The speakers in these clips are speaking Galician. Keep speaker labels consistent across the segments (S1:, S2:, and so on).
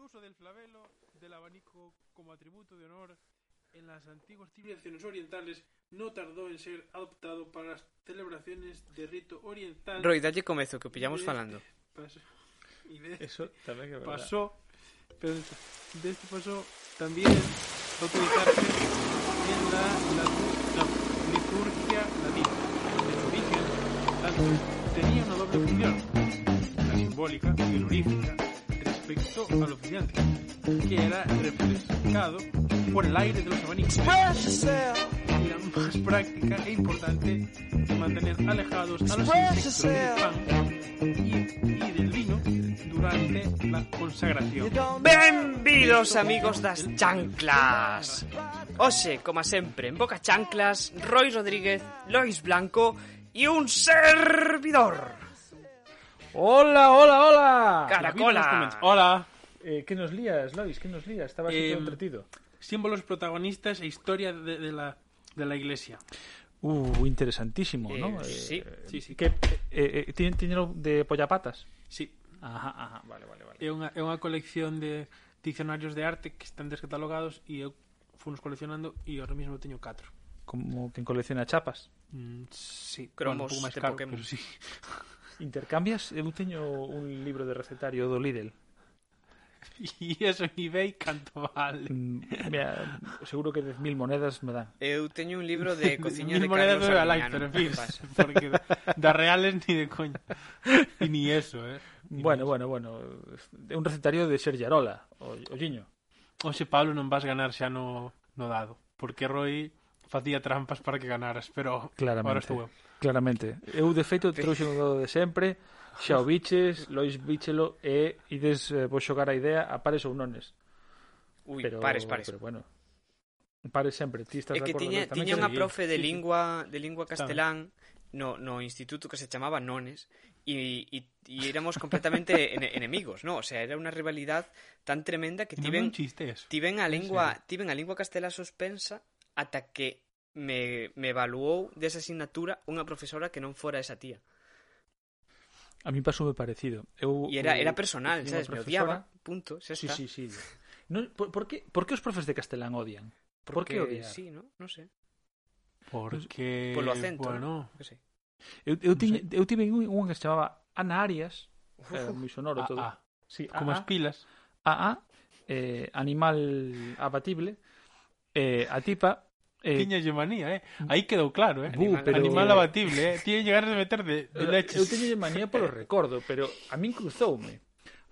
S1: uso del flabelo, del abanico como atributo de honor en las antiguas
S2: civilizaciones orientales no tardó en ser adoptado para as celebraciones de rito oriental.
S3: Roy, dalle comezo que o pillamos
S2: Este
S3: falando.
S2: Pasó, y de este
S4: Eso tamén é verdade.
S2: pasó, pero de este pasó también a utilizarse en la, latu- la liturgia latina. En su origen, tanto, tenía una doble función, la simbólica y honorífica respecto al oficiante, que era refrescado por el aire de los abanicos y la más práctica e importante mantener alejados a los insectos del pan y, y del vino durante la consagración.
S3: Benvidos amigos das chanclas Oxe, como sempre, en Boca Chanclas Roy Rodríguez, Lois Blanco E un servidor
S4: Hola, hola, hola.
S3: Caracola
S2: Hola.
S4: Eh, que nos lías, Lois? Que nos lías? Estaba aquí
S2: Em,
S4: todo entretido.
S2: Símbolos protagonistas e historia de, de la, de la iglesia.
S4: Uh, interesantísimo,
S3: Eh,
S4: ¿no?
S3: sí.
S2: Sí, sí.
S4: Que eh, eh, tienen dinero de pollapatas.
S2: Sí,
S4: Ajá, ajá, vale, vale, vale.
S2: é unha, é unha colección de diccionarios de arte que están descatalogados e eu funos coleccionando e ahora mismo teño 4.
S4: Como quen colecciona chapas.
S2: Mm, sí, bueno, un
S3: Cromos
S2: pouco máis
S3: de
S2: caro,
S3: Pokémon.
S2: pero sí.
S4: Intercambias? Eu teño un libro de recetario do Lidl.
S2: E eso en eBay canto vale?
S4: Mm, Mira, seguro que 10.000 monedas me dan.
S3: Eu teño un libro de cociña
S2: Mil
S3: de
S2: monedas
S3: Carlos
S2: de Galán,
S3: Arguiñano
S2: pero en fin,
S3: que pasa.
S2: porque da reales ni de coña. Y ni eso, eh. Ni
S4: Bueno,
S2: eso.
S4: bueno, bueno. É un recetario de Sergiarola, o, o Giño.
S2: Oxe, Pablo, non vas ganar xa no, no dado, porque Roy facía trampas para que ganaras, pero
S4: Claramente.
S2: ahora estou eu.
S4: Claramente. Eu, de feito, trouxe un dado de sempre, xa o biches, Lois bichelo e ides eh, vos xogar a idea a pares ou nones.
S3: Ui,
S4: pero,
S3: pares, pares
S4: Pero bueno, pares sempre. Ti estás
S3: É que
S4: de acordo
S3: tiña,
S4: tamén
S3: tiña
S4: que-
S3: unha
S2: sí.
S3: profe
S2: Sí,
S3: de
S2: sí.
S3: lingua de lingua
S2: Está
S3: castelán no, no instituto que se chamaba Nones e, e, e éramos completamente ene- enemigos, no? O sea, era unha rivalidad tan tremenda que
S2: E non é
S3: tiven
S2: un chiste eso.
S3: tiven a lingua, tiven a lingua castelá suspensa ata que me, me evaluou desa asignatura unha profesora que non fora esa tía.
S4: A mí pasoume parecido. Eu,
S3: E era
S4: eu-
S3: era personal,
S4: tiña unha
S3: sabes? Me
S4: profesora-
S3: odiaba, punto, xa
S4: Sí,
S3: está.
S4: sí, sí. No, por, por, que, por que os profes de castelán odian? por que odiar?
S3: Sí, no? Non sei,
S2: Porque...
S3: Polo acento,
S2: Bueno,
S3: non sei.
S4: Eu, eu,
S2: Non
S4: tiña, eu tive un, un que se chamaba Ana Arias, era
S3: Uf,
S4: moi sonoro
S2: ah,
S4: todo.
S2: ah,
S4: Sí,
S2: como as
S4: Ana,
S2: pilas.
S4: AA, eh, animal abatible, eh, a tipa... Eh,
S2: Tiña lle manía, eh. Aí quedou claro, eh.
S4: bu,
S3: Animal-
S4: pero...
S2: Animal abatible, eh. Tiña llegar de meter de, de leches.
S4: Eh, Eu teño manía polo recordo, pero a min cruzoume.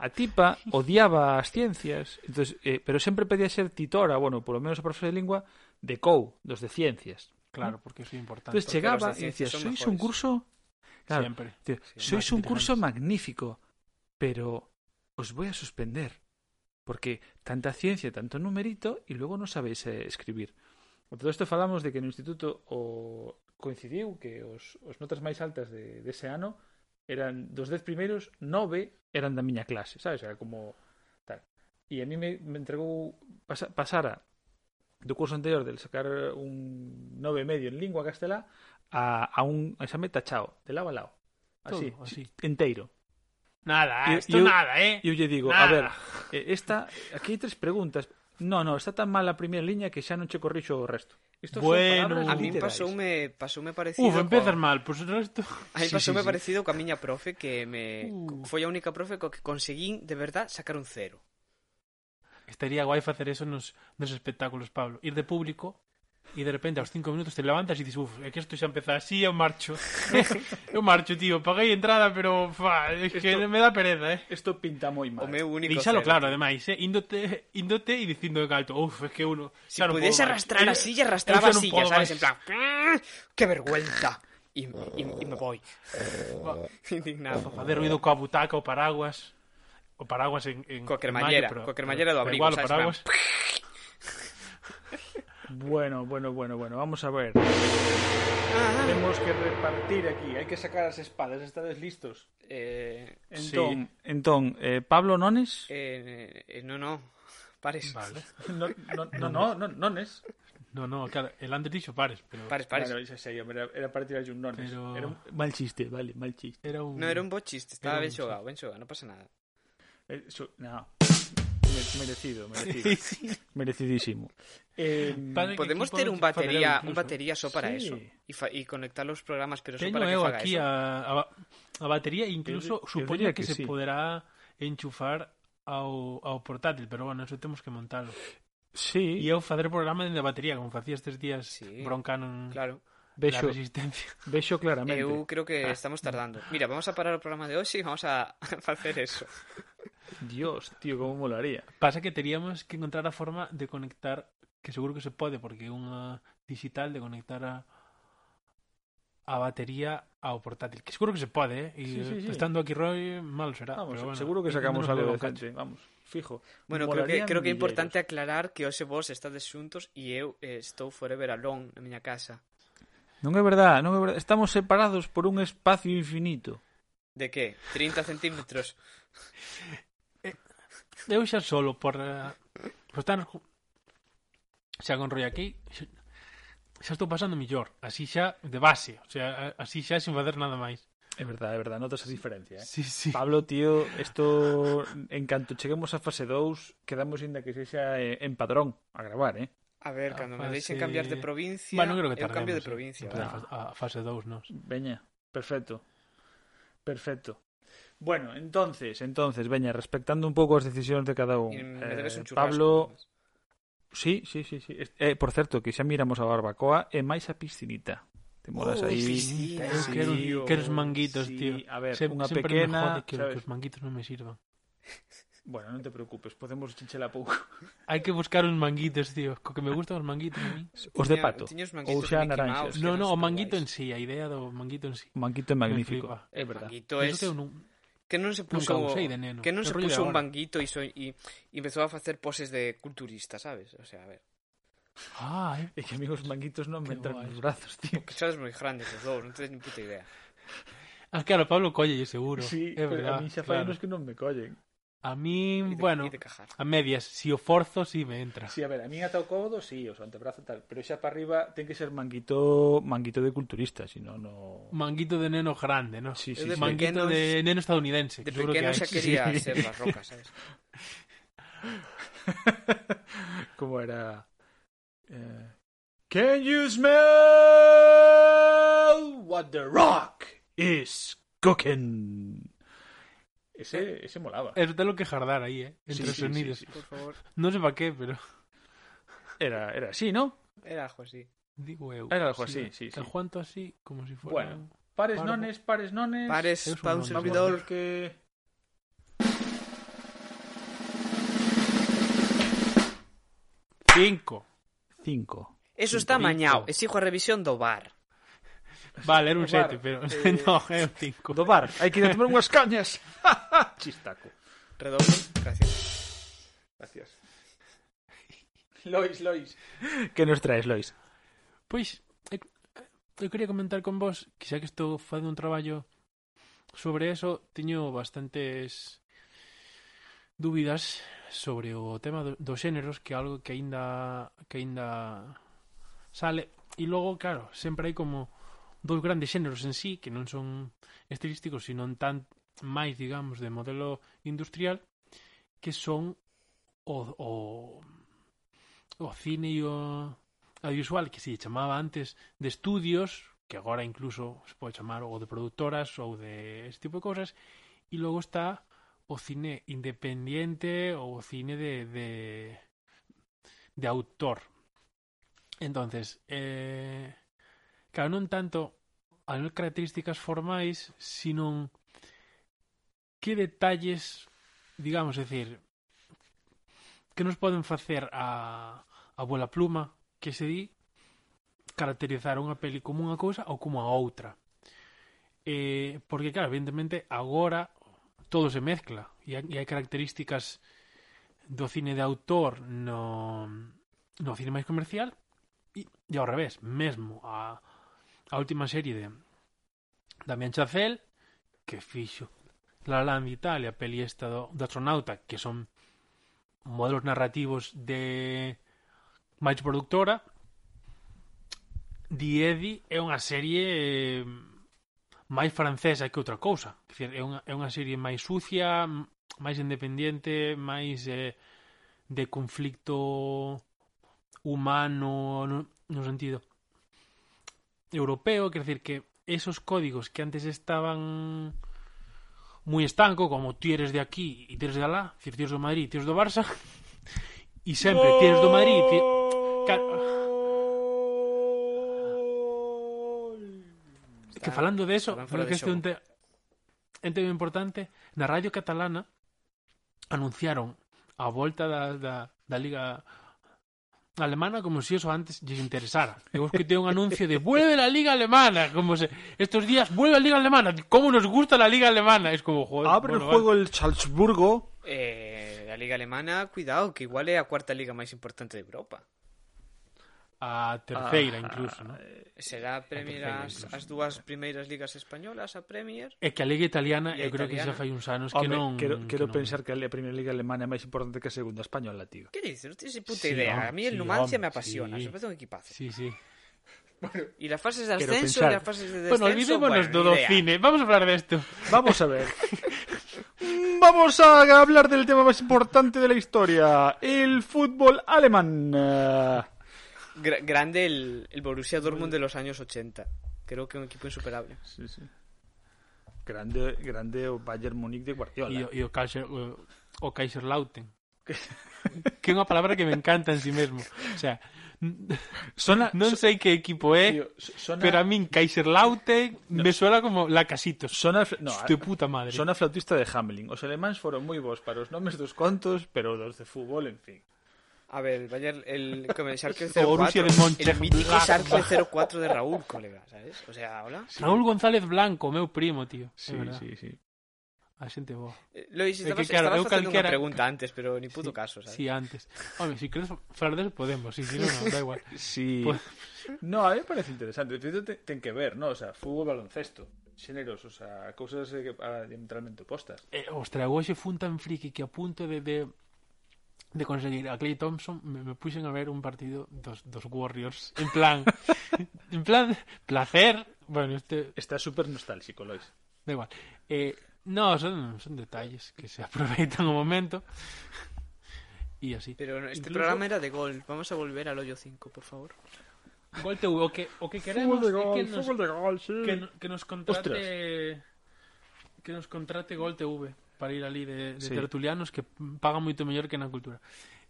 S4: A tipa odiaba as ciencias, entonces, eh, pero sempre pedía ser titora, bueno, polo menos a profesora de lingua, de COU, dos de ciencias.
S2: Claro, porque iso é importante.
S4: Entonces
S3: Porque
S4: chegaba
S3: los de
S4: e dicía,
S3: ciencias son
S4: sois
S3: mejores".
S4: un curso... Claro,
S2: Siempre.
S4: Tío,
S3: Sí,
S4: sois un
S2: magníficos.
S4: curso magnífico, pero os voy a suspender. Porque tanta ciencia, tanto numerito, y luego no sabéis eh, escribir. Por todo isto falamos de que no instituto o coincidiu que os, os notas máis altas de, dese ano eran dos dez primeiros, nove eran da miña clase, sabes? Era como tal. E a mí me, me entregou pasa, pasara do curso anterior del sacar un nove e medio en lingua castelá a, a un exame tachao, de lado a lado. Así,
S2: Todo, así.
S4: enteiro.
S2: Nada,
S4: Yo-
S2: esto
S4: yo-
S2: nada, eh.
S4: E eu lle digo, a
S2: Nada.
S4: ver, eh, esta, aquí hai tres preguntas. No, no, está tan mal a primeira liña que xa non che corrixo o resto. Isto
S2: Bueno.
S4: son palabras
S3: a min
S4: literais.
S3: pasoume pasoume parecido
S2: Uf, empezas
S3: co-
S2: mal, pois pues, resto...
S3: A mí
S2: Sí, sí,
S3: pasoume
S2: sí.
S3: parecido coa miña profe que me
S2: Uh.
S3: foi a única profe co que conseguín de verdad sacar un cero.
S2: Estaría guai facer eso nos, nos espectáculos, Pablo. Ir de público e de repente aos cinco minutos te levantas e dices, uf, é que isto xa empeza así, eu marcho. eu marcho, tío, paguei entrada, pero fa, é que
S4: Esto-
S2: me dá pereza, eh.
S4: Isto pinta moi
S3: O
S4: mal.
S3: meu único
S2: Dixalo
S3: cero.
S2: claro, ademais, eh? índote, índote e dicindo de alto, uf, é que uno...
S3: Se pudiese arrastrar a silla, arrastraba a silla, sabes, en plan, "Ah, qué vergüenza. Y, y, y me voy. Indignado.
S2: Facer ruido coa butaca, o paraguas... O paraguas en... en
S3: Coa
S2: en
S3: cremallera,
S2: maio, pero-
S3: coa cremallera do
S2: pero
S3: abrigo,
S2: Igual, o
S3: sabes,
S2: paraguas...
S4: Bueno, bueno, bueno, bueno, vamos a ver. Tenemos que repartir aquí, hai que sacar as espadas, estades listos.
S3: Eh,
S4: Entón, sí. entón eh, Pablo Nones?
S3: eh, eh, no, no. Pares.
S2: Vale.
S4: No, no, no, no, no, nones.
S2: No, no, claro, el antes dixo pares, pero...
S3: Pares, pares.
S4: Claro, xa sei, hombre, era, era para tirarlle un nones.
S2: Pero-
S4: Era un... Mal chiste, vale, mal chiste.
S2: Era un...
S3: No, era un bo chiste, estaba
S2: Era
S3: ben
S2: un
S3: xogado, ben xogado, non pasa nada.
S4: Eh, so, no. me- merecido, merecido. Merecidísimo. Eh,
S2: Padre,
S3: Podemos
S2: equipo
S3: tener
S2: te
S3: un
S2: faltará
S3: batería,
S2: incluso.
S3: un batería so para
S4: Sí.
S3: eso y, fa- y conectar los programas pero so
S2: Teño
S3: para que
S2: eu
S3: faga
S2: aquí
S3: eso.
S2: a, a, ba- a batería incluso
S4: Eu di- eu
S2: supoño
S4: diría
S2: que,
S4: que
S2: se
S4: sí.
S2: poderá enchufar ao, ao portátil, pero bueno, eso temos que montalo. E
S4: Sí,
S2: eu facer programa dende a batería, como facía estes días
S3: Sí.
S2: broncano claro. la
S3: Claro.
S4: vexo,
S2: resistencia.
S4: vexo claramente.
S3: Eu creo que estamos tardando. Mira, vamos a parar o programa de hoxe e vamos a a hacer eso.
S4: Dios, tío, como molaría.
S2: Pasa que teríamos que encontrar a forma de conectar, que seguro que se pode, porque é unha digital de conectar a a batería ao portátil, que seguro que se pode, eh? E
S4: Sí, sí, sí.
S2: estando aquí Roy, malo será.
S4: Vamos,
S2: pero bueno,
S4: seguro que sacamos
S2: nos
S4: algo
S2: leva un cacho.
S4: decente, vamos, fijo.
S3: Bueno, creo que
S4: Molarían
S3: creo que é
S4: milleiros.
S3: importante aclarar que hoxe vos estades xuntos e eu eh, estou forever alone na miña casa.
S4: Non é verdad, non é verdad. Estamos separados por un espacio infinito.
S3: De que? 30 centímetros.
S2: Eu xa solo por, eh, por estar ju- xa con Roy aquí xa, xa estou pasando millor así xa de base o sea, a- así xa sin facer nada máis
S4: É verdad, é verdad, notas a diferencia, eh?
S2: sí, sí.
S4: Pablo, tío, esto en canto cheguemos a fase 2, quedamos inda que sexa eh, en padrón a gravar, eh?
S3: A ver, cando me
S2: fase-
S3: deixen cambiar de provincia,
S2: Ah, Bueno, creo que
S3: eu cambio de
S2: tardemos, eh.
S3: provincia.
S2: En plan, a, a
S3: vale.
S2: fase 2 nos
S4: Veña, perfecto. Perfecto. Bueno, entonces, entonces, veña, respectando un pouco as decisións de cada un.
S3: E me debes un
S4: eh,
S3: churrasco.
S4: Pablo, sí, sí, sí, sí. Est- Eh, por certo, que xa miramos a barbacoa e máis a piscinita. Te molas
S3: Oh,
S4: aí.
S3: piscina,
S2: Eu
S4: Sí,
S2: quero,
S4: tío,
S2: quero os manguitos,
S4: sí.
S2: tío
S4: A ver,
S2: Sem-
S4: unha
S2: sempre
S4: pequena,
S2: me jode que,
S4: sabes?
S2: que os manguitos non me sirvan
S4: Bueno, non te preocupes, podemos chichela pouco.
S2: hai que buscar uns manguitos, tío co que me gustan os manguitos a mí
S4: Os de pato.
S3: Tiña os
S4: Ou
S3: manguitos
S4: xa
S3: de Mickey Mouse,
S4: naranxas.
S2: no,
S3: que
S2: no, o
S3: son
S2: manguito en sí
S3: superguais.
S2: a idea do manguito en sí
S4: O manguito é magnífico.
S2: flipa.
S4: É
S3: El
S4: verdad.
S3: manguito
S2: Eso
S3: es...
S2: que eu non,
S3: Que non se
S2: nunca
S3: puso
S2: usei de neno
S3: que non
S2: Que
S3: se
S2: rollo de
S3: puso un
S2: agora.
S3: banguito e so, e, e empezou a facer poses de culturista, sabes? O sea, a ver,
S2: ah, eh.
S4: É que amigos manguitos non me
S2: Qué
S4: entran
S2: guai.
S4: nos brazos, tío.
S3: que sabes moi grandes os dous, non tedes ni puta idea.
S2: ah, claro, Pablo colle seguro é
S4: pero
S2: verdad,
S4: a mí xa fai
S2: claro.
S4: unos que non me collen.
S2: A mí,
S3: E de,
S2: bueno,
S3: e de cajar.
S2: a medias, si o forzo, si me entra.
S4: Sí, a ver, a mí ata o codo, sí, o antebrazo tal, pero xa para arriba ten que ser manguito manguito de culturista, si non no
S2: Manguito de neno grande, ¿no?
S4: Sí,
S3: Eu
S4: sí,
S3: de
S4: sí.
S2: Manguito
S3: pequenos-
S2: Mm, de neno estadounidense.
S3: De
S2: que seguro que
S3: pequeno
S2: hay.
S3: xa quería ser las rocas, sabes?
S4: como era eh, Can you smell what the rock is cooking? Ese ese molaba.
S2: Eso te lo que jardar ahí, ¿eh? Entre
S4: Sí, sí,
S2: sonidos.
S4: sí, sí.
S3: Por favor,
S2: No sé para qué, pero
S4: Era era así, ¿no?
S3: era algo así.
S2: digo eu.
S4: Era algo así, sí, sí.
S2: El Juanto así, como si fuera...
S4: Bueno. Pares
S2: Parvo.
S4: nones, pares nones. Eh,
S3: Pares
S2: es un
S3: para un
S2: montón.
S4: Vamos a
S3: servidor
S4: ver que
S2: Cinco.
S4: 5.
S3: Eso está mañado, exijo a revisión do bar.
S2: Vale, era un
S4: O bar,
S2: siete, pero...
S4: eh,
S2: no, era un cinco.
S4: Do bar, hai que ir a tomar unhas cañas. Chistaco.
S3: Redondo, gracias. Gracias.
S4: Lois, Lois. Que nos traes, Lois?
S2: Pois, eu, eu quería comentar con vos que xa que estou facendo un traballo sobre eso, teño bastantes dúbidas sobre o tema do, dos xéneros, que é algo que aínda que aínda sale. E logo, claro, sempre hai como dous grandes xéneros en sí que non son estilísticos, sino tan máis, digamos, de modelo industrial que son o o o cine e o audiovisual que se chamaba antes de estudios, que agora incluso se pode chamar ou de productoras ou de ese tipo de cosas, e logo está o cine independiente ou o cine de de, de autor. Entonces, eh, claro, non tanto a nivel características formais, sino que detalles, digamos, é dicir, que nos poden facer a, a bola pluma que se di caracterizar unha peli como unha cousa ou como a outra. Eh, porque, claro, evidentemente, agora todo se mezcla e hai, e hai características do cine de autor no, no cine máis comercial e, e ao revés, mesmo a, a última serie de Damián Chacel que fixo La La Land de Italia, a peli esta do, do astronauta que son modelos narrativos de máis productora Diedi é unha serie eh, máis francesa que outra cousa Quer dizer, é unha, é unha serie máis sucia m- máis independiente máis eh, de conflicto humano, no, no sentido europeo, quiere decir que esos códigos que antes estaban muy estanco, como tú eres de aquí y tú eres de Alá, es decir, tú eres de Madrid y tú eres de Barça, y siempre tú eres de Madrid y ti- Ca- que falando de eso,
S3: Estarán fora
S2: creo que
S3: de
S2: este é un, te, un tema importante, na radio catalana anunciaron a volta da, da, da liga alemana como se eso antes lles interesara. Eu escutei un anuncio de vuelve la liga alemana, como se estos días vuelve la liga alemana, como nos gusta la liga alemana, es como joder.
S5: Abre
S2: bueno,
S5: el juego el Salzburgo.
S3: Eh, a Liga Alemana, cuidado, que igual é a cuarta liga máis importante de Europa.
S2: vale. a terceira
S3: Ah.
S2: incluso, ¿no? Ah,
S3: Será Premier as, as dúas primeiras ligas españolas, a Premier?
S2: É que a liga italiana,
S3: E a
S2: eu creo que
S3: italiana?
S2: xa fai uns anos que
S4: Home,
S2: non
S4: quero, quero
S2: que non-
S4: pensar que a Primeira Liga Alemana é máis importante que a Segunda Española, tío.
S3: Que dices? Non tens ni puta
S2: Sí,
S3: idea.
S2: home,
S3: A mí
S2: sí,
S3: el Numancia
S2: home,
S3: me apasiona,
S2: sí.
S3: se me parece un equipazo.
S2: Sí, sí.
S3: Y las fases de
S4: Quiero
S3: ascenso
S4: pensar.
S3: y las fases de descenso.
S2: Bueno, olvidémonos
S3: bueno,
S2: do
S3: ni idea.
S2: cine, vamos a hablar de esto.
S4: Vamos a ver.
S5: Mm, Vamos a hablar del tema más importante de la historia: el fútbol alemán. Eh,
S3: Gra- grande el, el Borussia Dortmund de los años 80. Creo que un equipo insuperable.
S4: Grande, grande o Bayern Múnich de
S2: Y,
S4: Guardiola.
S2: y o Kaiser, o, o Kaiserlauten. que é unha palabra que me encanta en sí mesmo. O sea,
S4: Sona,
S2: non sei que equipo é,
S4: tío, sona,
S2: pero a min Kaiserlauten me suena como lacasitos.
S4: sona, no, a-
S2: De puta madre.
S4: Son a flautista de Hamelin. Os alemáns foron moi bons para os nomes dos contos, pero dos de fútbol, en fin.
S3: A ver, el Bayern, el, como el Schalke
S2: O Borussia
S3: 04.
S2: de Mönchengladbach.
S3: el mítico Schalke 04 de Raúl, colega, ¿sabes? O sea, hola.
S2: Raúl González Blanco, meu primo, tío. Sí, sí.
S4: sí.
S2: A xente boa.
S3: Eh, Lois,
S2: É
S3: estabas,
S2: que, claro,
S3: estabas
S2: eu
S3: facendo
S2: calquera-
S3: unha pregunta antes, pero ni puto caso, ¿sabes?
S2: Sí, antes. Home, si queres falar deso podemos, si, si non, non, da igual.
S4: Sí.
S2: Pues-
S4: No, a mí me parece interesante. De feito, te- ten que ver, ¿no? O sea, fútbol, baloncesto, xéneros, o sea, cousas eh, que ah, diametralmente opostas.
S2: Eh, ostra, eu hoxe fun tan friki que a punto de, de, de conseguir a Clay Thompson me, me puxen a ver un partido dos, dos Warriors. En plan, en plan, placer. Bueno, este,
S4: Está súper nostálgico, Lois.
S2: da igual. Eh, no, son, son detalles que se aproveitan o momento. E así.
S3: Pero no, este
S2: Incluso-
S3: programa era de gol. Vamos a volver al hoyo 5, por favor.
S2: Gol TV, o que, o que queremos
S5: Fútbol de
S2: é que
S5: gol,
S2: nos,
S5: fútbol de gol, sí.
S2: que, no- que nos contrate que nos contrate Gol TV para ir ali de, de
S4: Sí.
S2: tertulianos que pagan moito mellor que na cultura.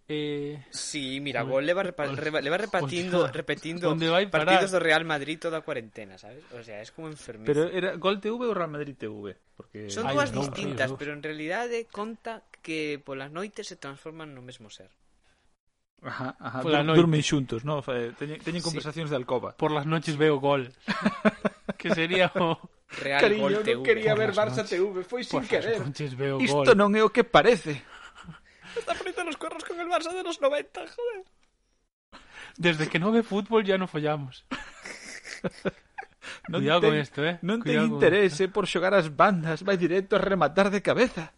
S2: Eh,
S3: Sí, mira, gol le va, repa-
S2: Os-
S3: reba- le va repatindo,
S2: ostras,
S3: repetindo
S2: onde vai parar?
S3: partidos do Real Madrid toda a cuarentena, ¿sabes? O sea, es como enfermizo.
S4: Pero
S2: eh,
S4: era Gol TV ou Real Madrid TV? Porque
S3: Son
S2: Ay,
S3: dúas
S2: non,
S3: distintas,
S2: Dios.
S3: pero en realidade conta que polas noites se transforman no mesmo ser.
S4: Ajá, ajá.
S2: Pola
S4: Dur-
S2: noite.
S4: durmen xuntos, ¿no? Fa- eh, Teñen, teñen conversacións de alcoba.
S2: por las noches veo gol. que sería o...
S3: Real Gol TV.
S2: ver Barça
S4: TV, foi
S2: Por las noches veo
S4: Isto
S2: gol.
S4: non é o que parece.
S3: Está poniendo los cuernos con el Barça de los 90, joder.
S2: Desde que no ve fútbol ya no follamos.
S4: Non
S2: Cuidado
S4: ten-
S2: con esto, eh.
S4: Non ten
S2: Cuidado con-
S4: interese por xogar as bandas, vai directo a rematar de cabeza.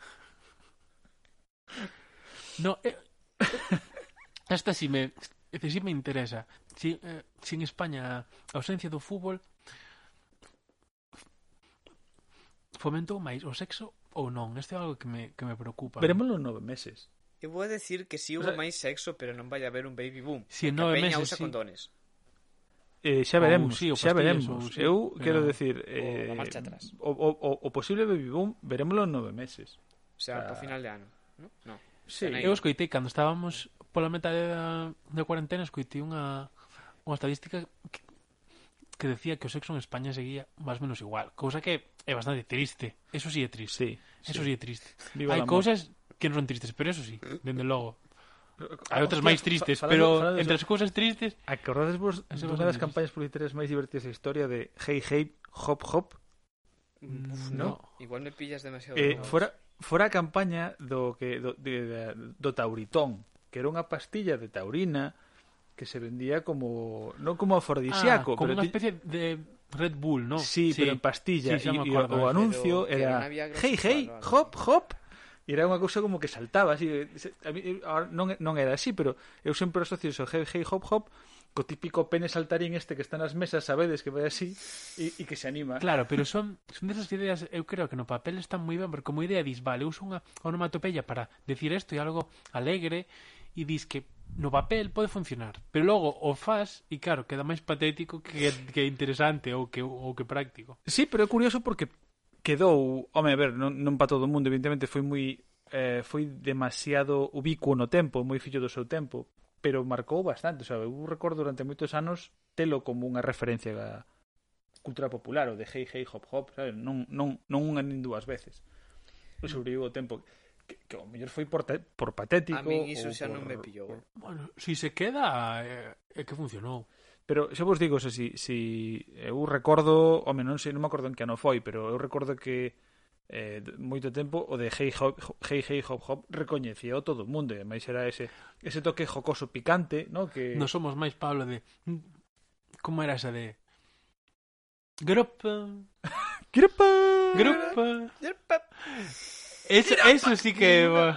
S2: No, eh... Esta sí me... Este sí me interesa. Si, eh, si en España a ausencia do fútbol fomentou máis o sexo ou non? Este é algo que me, que me preocupa.
S4: Veremoslo en nove meses.
S3: Eu vou decir que si sí, hubo máis sexo, pero non vai haber un baby boom.
S2: Si en
S3: porque a
S2: nove
S3: Peña
S2: meses,
S3: usa
S2: sí.
S3: condones.
S4: Eh, xa
S2: Ou
S4: veremos,
S2: sí, ou
S4: xa
S2: pastillas,
S4: veremos.
S2: ou sí,
S4: Eu
S2: pero-
S4: quero decir, eh,
S3: a marcha atrás.
S4: O, o, o, o posible baby boom, verémoslo en nove meses.
S3: O sea,
S4: Ah.
S3: para final de ano. No? No.
S4: Sí,
S3: Ten aí.
S2: Eu escoitei cando estábamos pola metade da, da cuarentena escoitei unha unha estadística que, que decía que o sexo en España seguía máis ou menos igual, cousa que é bastante triste. Eso sí é triste.
S4: Sí,
S2: Eso sí é triste.
S4: Viva
S2: Hai
S4: el amor.
S2: cousas que non son tristes, pero eso sí, dende logo. Hai outras
S4: Hostia,
S2: máis
S4: fa-
S2: tristes,
S4: falando-
S2: pero
S4: falando de
S2: entre
S4: eso,
S2: as cousas tristes,
S4: Acordades vos
S2: Ese
S4: dunha
S2: vos antes.
S4: das campañas publicitarias máis divertidas da historia de Hey Hey, Hop Hop?
S3: Uf,
S4: Mm, no.
S3: Igual me pillas demasiado.
S4: Eh,
S3: drogado.
S4: fora, fora a campaña do, que, do, de, de, do tauritón, que era unha pastilla de taurina que se vendía como non como afrodisíaco,
S2: ah, como
S4: pero
S2: unha
S4: ti-
S2: especie de Red Bull, ¿no?
S4: sí, pero en pastilla
S2: Sí, xa me
S4: e, e
S2: acordo, pero
S4: o anuncio
S3: que era
S4: era
S3: unha Viagra
S4: hey hey,
S3: sexual o algo
S4: hop hop e era unha cousa como que saltaba así, eh, se- a mí, eh, ahora non, non era así, pero eu sempre asocio iso hey hey hop hop co típico pene saltarín este que está nas mesas, sabedes que vai así e, e que se anima.
S2: Claro, pero son, son desas ideas, eu creo que no papel están moi ben, porque como idea dis, vale, uso unha onomatopeia para decir isto e algo alegre, e e dis que no papel pode funcionar, pero logo o faz e claro, queda máis patético que, que interesante ou que, ou que práctico.
S4: Sí, pero é curioso porque quedou, home, a ver, non, non para todo o mundo, evidentemente foi moi eh, foi demasiado ubicuo no tempo, moi fillo do seu tempo, pero marcou bastante, o sea, eu recordo durante moitos anos telo como unha referencia da cultura popular, o de hey hey hop hop, sabes? non non non unha nin dúas veces. Eu sobrevivo o tempo que, que ao mellor foi por, te- por patético
S3: A min iso
S4: ou
S3: xa non
S4: por-
S3: me pillou. eh.
S2: Bueno, si se queda, eh, é que funcionou.
S4: Pero xa vos digo, se si, si eu recordo, home, non sei, non me acordo en que ano foi, pero eu recordo que eh, d- moito tempo o de Hey Hop Hey, hey Hop Hop recoñecía o todo o mundo, e máis era ese ese toque jocoso picante, no? que
S2: Non somos máis Pablo de como era esa de Grupa,
S4: Gripa!
S2: grupa. Eso, eso sí que va.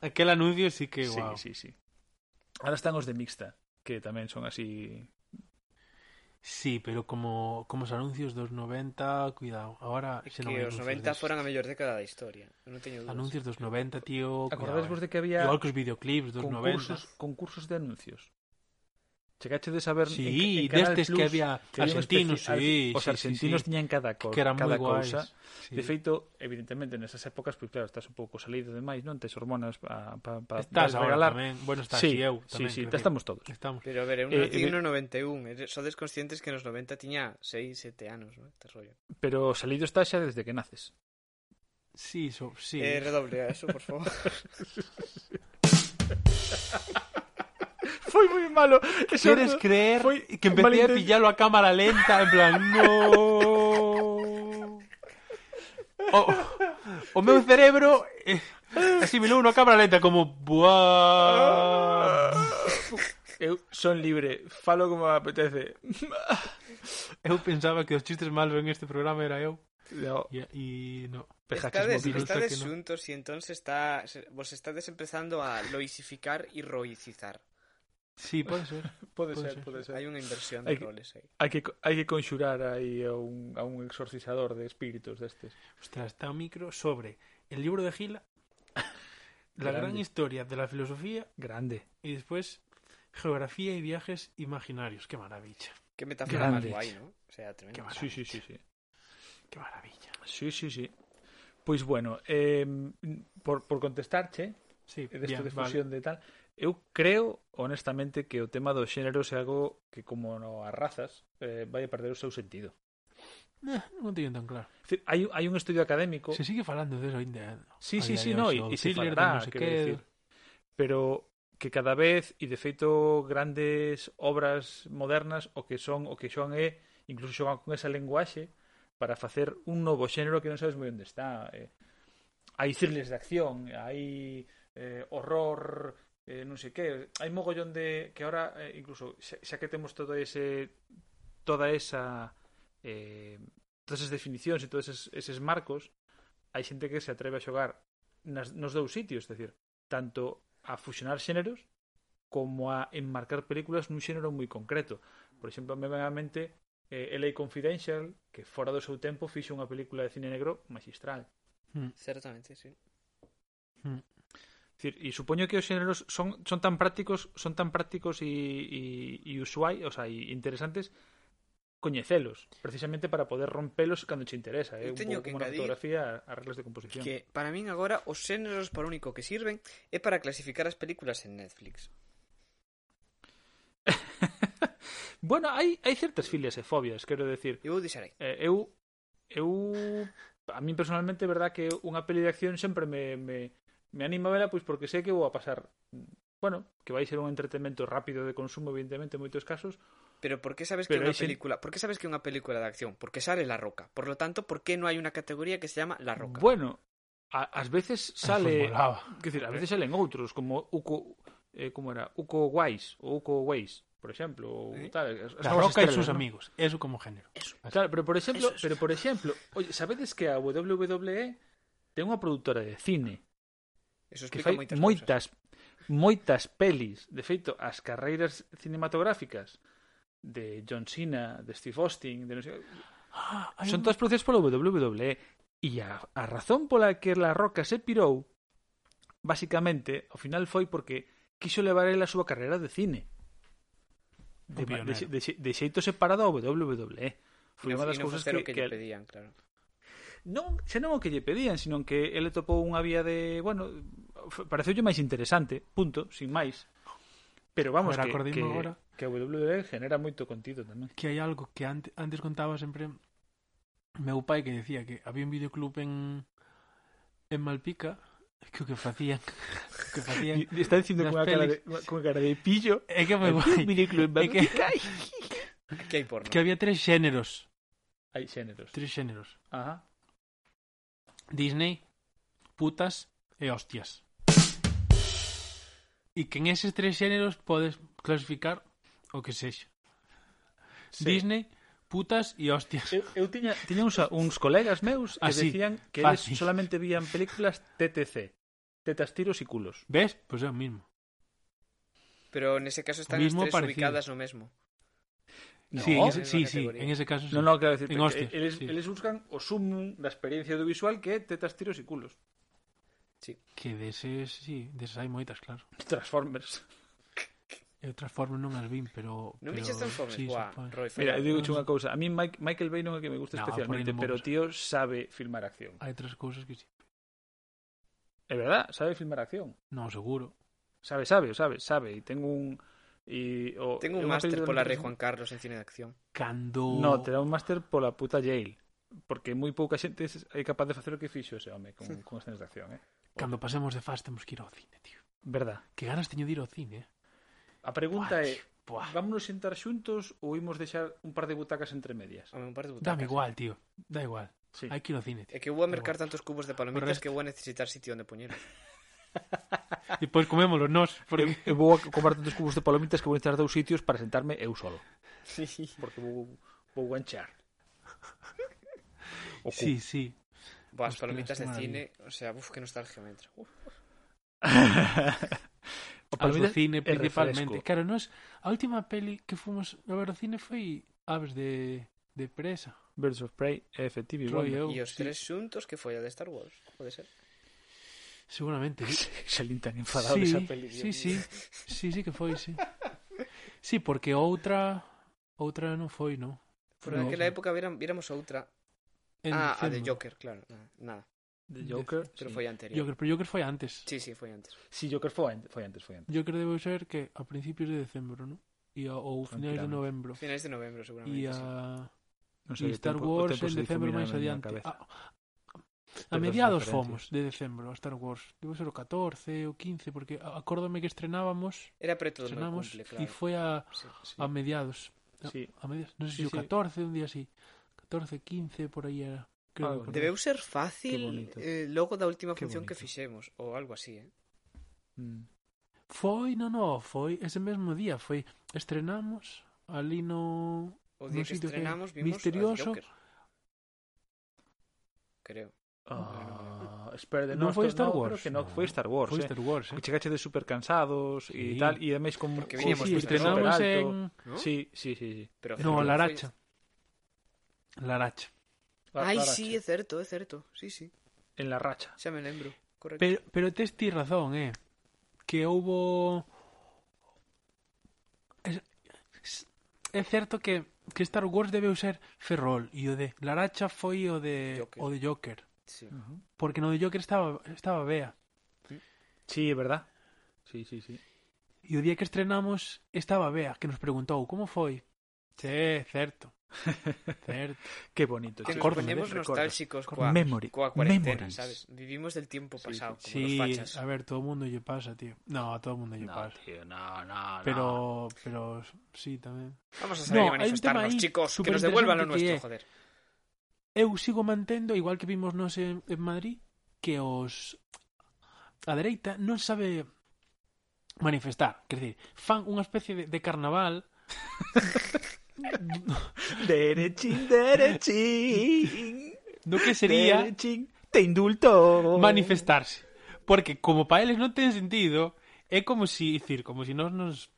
S2: Aquel anuncio sí que
S4: Sí,
S2: guau.
S4: sí, sí. Ahora están os de mixta, que tamén son así
S2: Sí, pero como, como os anuncios dos 90, cuidado. Ahora
S3: É
S2: se non
S3: que
S2: hai
S3: os
S2: anuncios
S3: 90
S2: deses.
S3: foran a mellor década da historia. Eu Non teño dúdas.
S2: Anuncios dos 90, tío. cuidado,
S4: Acordadesvos
S2: eh.
S4: de que había
S2: Igual que os videoclips dos 90.
S4: concursos, concursos de anuncios. Chegache de saber en,
S2: Sí,
S4: en Canal
S2: destes que
S4: Plus
S2: había
S4: que había un
S2: argentinos,
S4: especi-
S2: sí. sí,
S4: ar- os
S2: sí,
S4: argentinos
S2: sí,
S4: tiñan cada, co
S2: que eran moi
S4: cada
S2: guais.
S4: cousa.
S2: Sí.
S4: De feito, evidentemente, nesas épocas, pois claro, estás un pouco salido demais, non tes hormonas para pa, pa,
S2: estás
S4: dar-
S2: ahora
S4: regalar.
S2: tamén. Bueno, estás sí,
S4: sí,
S2: eu
S4: sí,
S2: tamén.
S4: sí,
S2: creo
S4: ta
S2: que
S4: estamos todos.
S2: Estamos.
S3: Pero a ver, eu
S4: Eh,
S3: non eh,
S4: eh,
S3: no 91. eh, Sodes conscientes que nos 90 tiña 6, 7 anos, non? Este rollo.
S4: Pero salido estás xa desde que naces.
S2: Sí, so, sí.
S3: Eh, redoble a eso, por favor.
S4: Foi moi malo. Eso
S2: ¿Quieres creer
S4: foi
S2: que empecé a
S4: malinten-
S2: pillarlo a cámara lenta? En plan, no. O, o meu cerebro eh, asimilou unha cámara lenta como buah.
S4: Eu son libre, falo como me apetece.
S2: Eu pensaba que os chistes malos en este programa era eu
S4: No,
S2: e, e no.
S3: Estades,
S2: movidos,
S3: estades
S2: que no.
S3: xuntos e entón se está, se, vos estades empezando a loisificar e roicizar.
S2: Sí, pode ser.
S4: pode
S2: Pode
S4: ser,
S2: ser.
S4: pode ser.
S3: Hai unha inversión de
S4: Hai que-
S3: roles aí.
S4: Hai que hai que conxurar aí a un a un exorcizador de espíritus destes.
S2: Ostras, está un micro sobre el libro de Gila, la gran
S4: Grande.
S2: historia de la filosofía
S4: Grande.
S2: y después geografía y viajes imaginarios. Qué maravilla.
S3: Que metáfora máis
S4: Grande.
S3: guai, non? O sea, tremendo.
S2: Qué maravilla.
S4: Sí, sí, sí, sí.
S2: Qué maravilla.
S4: Sí, sí, sí. Pois bueno, eh, por, por contestarche
S2: Sí,
S4: desta de
S2: bien,
S4: de
S2: vale.
S4: fusión de tal, eu creo, honestamente, que o tema do xénero é algo que, como no as razas, eh, vai a perder o seu sentido.
S2: Eh, non teño tan claro.
S4: É dicir, hai, hai un estudio académico...
S2: Se sigue falando de eso ainda.
S4: Sí,
S2: A
S4: sí,
S2: día
S4: sí,
S2: de
S4: no,
S2: hoxe,
S4: y,
S2: o
S4: y se
S2: thriller do
S4: falará,
S2: non sei
S4: quero
S2: que.
S4: decir. Pero que cada vez, e de feito grandes obras modernas, o que son, o que xoan é, incluso xoan con esa lenguaxe, para facer un novo xénero que non sabes moi onde está. Eh, hai thrillers de acción, hai eh, horror, eh, non sei que, hai mogollón de que ahora eh, incluso xa, xa que temos todo ese toda esa eh, todas as definicións e todos eses, eses marcos, hai xente que se atreve a xogar nas, nos dous sitios, é dicir, tanto a fusionar xéneros como a enmarcar películas nun xénero moi concreto. Por exemplo, me ven á mente eh, LA Confidential, que fora do seu tempo fixo unha película de cine negro magistral.
S3: Certamente, sí.
S4: Decir, e supoño que os xéneros son, son tan prácticos, son tan prácticos e, e, e usuai, o sea, e interesantes coñecelos, precisamente para poder rompelos cando che interesa, é
S3: Eu
S4: un
S3: teño
S4: pouco
S3: que
S4: como na
S3: engadir
S4: fotografía as reglas de composición.
S3: Que para min agora os xéneros para o único que sirven é para clasificar as películas en Netflix.
S4: Bueno, hai hai certas filias e fobias, quero decir,
S3: Eu vou deixar aí.
S4: Eh, eu eu a min personalmente é verdad que unha peli de acción sempre me me me anima a vela pois porque sei que vou a pasar bueno, que vai ser un entretenimento rápido de consumo evidentemente en moitos casos,
S3: Pero ¿por qué sabes
S4: Pero
S3: que
S4: hay
S3: una
S4: gen-
S3: película, por qué sabes que una película de acción? Porque sale La Roca. Por lo tanto, ¿por qué no hay una categoría que se llama La Roca?
S4: bueno, a, ás veces sale,
S2: Eso molaba.
S4: quer dizer, ás veces salen outros como Uco eh, como era, Uco Wise ou Uco Ways, por exemplo, ou
S3: Eh?
S4: tal, as, as
S2: La
S4: novas
S2: Roca y sus
S4: estrelas, non?
S2: amigos. Eso como género.
S4: Claro, pero por exemplo,
S3: Eso, eso.
S4: pero por exemplo, oye, sabedes que a WWE ten unha produtora de cine
S3: Eso
S4: que
S3: explica
S4: fai
S3: moitas, cousas.
S4: moitas moitas pelis, de feito, as carreiras cinematográficas de John Cena, de Steve Austin, de non sei, son todas producidas polo WWE e a, a razón pola que La Roca se pirou basicamente, ao final foi porque quiso levar el a súa carreira de cine. De,
S6: pionero.
S4: de, de, de xeito separado ao WWE. Foi
S3: E
S4: unha das
S3: non
S4: cousas
S3: facer o
S4: que,
S3: que,
S4: que
S3: lle pedían, claro.
S4: Non, xa non o que lle pedían, sino que ele topou unha vía de, bueno, f- pareceulle máis interesante, punto, sin máis. Pero vamos,
S2: Agora
S4: que,
S2: acordei-me
S4: que,
S2: agora.
S4: que a WWE genera moito contido tamén.
S2: que hai algo que antes, antes contaba sempre meu pai que decía que había un videoclub en en Malpica que o que facían que facían
S4: Y- y Está dicindo
S2: Nas
S4: con cara de,
S2: pelis.
S4: con cara de pillo.
S2: é que é moi guai
S4: Videoclub,
S2: é que,
S3: Aquí hai porno.
S2: que había tres xéneros
S4: Hai xéneros.
S2: tres xéneros
S4: Ajá.
S2: Disney putas e hostias e que en eses tres xéneros podes clasificar o que sexa
S4: Sí.
S2: Disney putas e hostias
S4: Eu, eu tiña, tiña uns, uns colegas meus que
S2: Así,
S4: decían que eles
S2: fácil.
S4: solamente vían películas TTC. Tetas, tiros y culos.
S2: ves? pois pues é o mismo
S3: Pero nese caso están
S2: Mismo
S3: as tres
S2: parecido.
S3: ubicadas no mesmo.
S4: No.
S2: sí, en ese,
S3: É
S2: sí,
S3: unha
S2: sí,
S3: categoría.
S2: en ese caso sí.
S4: Non, non, claro, decir,
S2: En
S4: que
S2: hostias,
S4: eles,
S2: sí.
S4: eles buscan o sumum da experiencia audiovisual que é tetas, tiros e culos.
S2: Que deses, sí, deses hai moitas, claro.
S4: Transformers.
S2: Eu Transformers non as vin, pero...
S3: Non
S2: pero,
S3: vixes Transformers?
S2: Sí, pues,
S3: Buah,
S2: supoño.
S3: Roy,
S4: Mira, eu
S3: fallado.
S4: digo unha cousa. A mí Mike, Michael Bay non é que me
S2: No,
S4: gusta especialmente,
S2: por aí non
S4: pero
S2: vamos.
S4: tío sabe filmar acción.
S2: Hai outras cousas que sí.
S4: É verdad, sabe filmar acción.
S2: Non, seguro.
S4: Sabe, sabe, o sabe, sabe. E tengo un... E, o,
S3: Tengo
S4: é
S3: un
S4: unha
S3: máster pola
S4: película que-
S3: Rey Juan Carlos en cine de acción.
S2: Cando...
S4: No, te dá un máster pola puta Yale. Porque moi pouca xente é capaz de facer o que fixo ese home con, con escenas de acción, eh?
S2: Cando pasemos de fast temos que ir ao cine, tío.
S4: Verdad.
S2: Que ganas teño de ir ao cine, eh?
S4: A pregunta
S2: Buah,
S4: é,
S2: tío, buah.
S4: vámonos sentar xuntos ou imos deixar un par de butacas entre medias?
S3: Home, un par de butacas.
S2: Dame igual, tío. Da igual.
S4: Sí.
S2: Ah, Hai que ir ao cine, tío.
S3: É que vou a mercar tantos cubos de
S2: O
S3: palomitas
S2: resto.
S3: que vou a necesitar sitio onde poñer.
S2: E pois comémolo nós, porque...
S4: Eu vou a comprar tantos cubos de palomitas que vou necesitar dous sitios para sentarme eu solo. Porque vou, vou guanchar. O
S2: sí, sí.
S3: Buah, as
S2: Ostras,
S3: palomitas
S2: qué
S3: de
S2: maravilla.
S3: cine, o sea, uf, que nostalgia me entra. Uf.
S4: o
S2: Ao do
S4: palomitas
S2: cine,
S4: e refresco.
S2: principalmente. Claro, nós... A última peli que fomos a ver ao cine foi Aves de, de Presa.
S4: Birds of Prey é efectivo
S2: Creo eu,
S4: igual.
S3: E os
S2: sí.
S3: tres xuntos que foi a de Star Wars, pode ser.
S2: Seguramente. sí.
S4: Se lintan enfadado sí, esa peli.
S2: Sí, sí, sí, sí que foi, sí. Sí, porque outra outra non foi, non?
S3: Por
S2: No,
S3: aquela
S2: sí.
S3: época viram, viramos a outra.
S2: En
S3: ah, a de
S2: decembro.
S3: Joker, claro. Nada, nada
S4: The Joker.
S3: pero
S4: sí.
S3: foi anterior.
S2: Joker, pero Joker foi antes.
S3: Sí, sí, foi antes.
S4: Sí, Joker foi antes, foi antes, foi antes.
S2: Joker debe ser que a principios de decembro, non? E a- ou finais de
S4: Tranquilamente.
S2: novembro.
S3: Finais de novembro, seguramente.
S2: E
S3: sí.
S2: a
S4: Non
S2: e
S4: o
S2: Star
S4: tempo- o
S2: Wars
S4: tempo
S2: en
S4: se
S2: decembro
S4: difumina
S2: máis
S4: na miña
S2: adiante.
S4: cabeza.
S2: A, Ah, a
S4: Perdo as
S2: mediados
S4: referencias.
S2: fomos de decembro a Star Wars. Debe ser o 14 o 15 porque a- acórdome que estrenábamos,
S3: Era preto do meu
S2: estrenamos
S3: cumple,
S2: e
S3: claro.
S2: foi a
S3: Sí.
S2: a mediados.
S4: Sí.
S2: A medias, non sei
S4: Sí,
S2: se o
S4: sí.
S2: 14, un día así. 14, 15, por aí era.
S4: Ah,
S2: Creo
S4: bueno.
S2: que
S3: Debeu ser
S4: Qué
S3: fácil
S4: bonito.
S3: eh, logo da última
S2: Qué
S3: función que
S2: bonito.
S3: fixemos, ou algo así, eh?
S4: Mm.
S2: foi, non, non, foi ese mesmo día, foi estrenamos ali no
S3: O
S2: Nun
S3: día que
S2: sitio que
S3: estrenamos vimos
S2: misterioso.
S3: a Joker. Creo.
S4: Ah, espera, de-
S2: Non
S4: no,
S2: foi
S4: esto-
S2: Star
S4: no,
S2: Wars,
S4: creo que no,
S2: no.
S4: foi Star Wars.
S2: foi
S4: eh.
S2: Star Wars, eh.
S4: Chegache de super cansados e
S2: Sí.
S4: tal, e ademais con
S3: Porque
S4: con-
S3: viñamos
S2: sí,
S3: de
S2: estrenamos
S4: super alto.
S2: en
S3: ¿No?
S4: Sí, sí, sí, sí.
S3: Pero
S2: no,
S3: fue-
S2: Laracha. Laracha.
S4: La-
S3: Ai,
S4: la racha.
S3: sí, é certo, é certo. Sí, sí,
S4: En la racha.
S3: xa me lembro. Correcto.
S2: Pero pero tes ti razón, eh, que houbo es, es- é certo que que Star Wars debeu ser Ferrol e o de Laracha foi o de
S3: Joker.
S2: o de Joker,
S3: Sí.
S2: porque no de Joker estaba estaba Bea.
S4: Sí, é verdad. Sí, sí, sí.
S2: E o día que estrenamos estaba Bea, que nos preguntou como foi. Che, certo. certo.
S4: Qué bonito.
S3: Que
S4: sí.
S3: nos
S2: Acórdome,
S3: ponemos
S4: recordo.
S3: nostálxicos coa,
S4: Memory.
S3: coa cuarentena,
S4: Memories.
S3: sabes? Vivimos del tiempo pasado, como
S2: Sí,
S3: los fachas.
S2: a ver, todo el mundo lle pasa, tío. No, a todo el mundo lle
S4: No,
S2: pasa.
S4: tío, no, no, no.
S2: Pero, pero sí, tamén.
S3: Vamos a salir
S2: No,
S3: a
S2: hay un
S3: manifestarnos,
S2: tema ahí
S3: chicos, que nos
S2: superinteresante
S3: devuelvan lo
S2: que
S3: nuestro,
S2: é-
S3: joder.
S2: Eu sigo mantendo, igual que vimos nos en, en Madrid, que os a dereita non sabe manifestar. Quer dizer, fan unha especie de, de carnaval
S4: Derechín, derechín.
S2: do que sería
S4: Derechín, te indulto.
S2: ¿eh? manifestarse. Porque como para eles non ten sentido, é como si, dicir, como si nós nos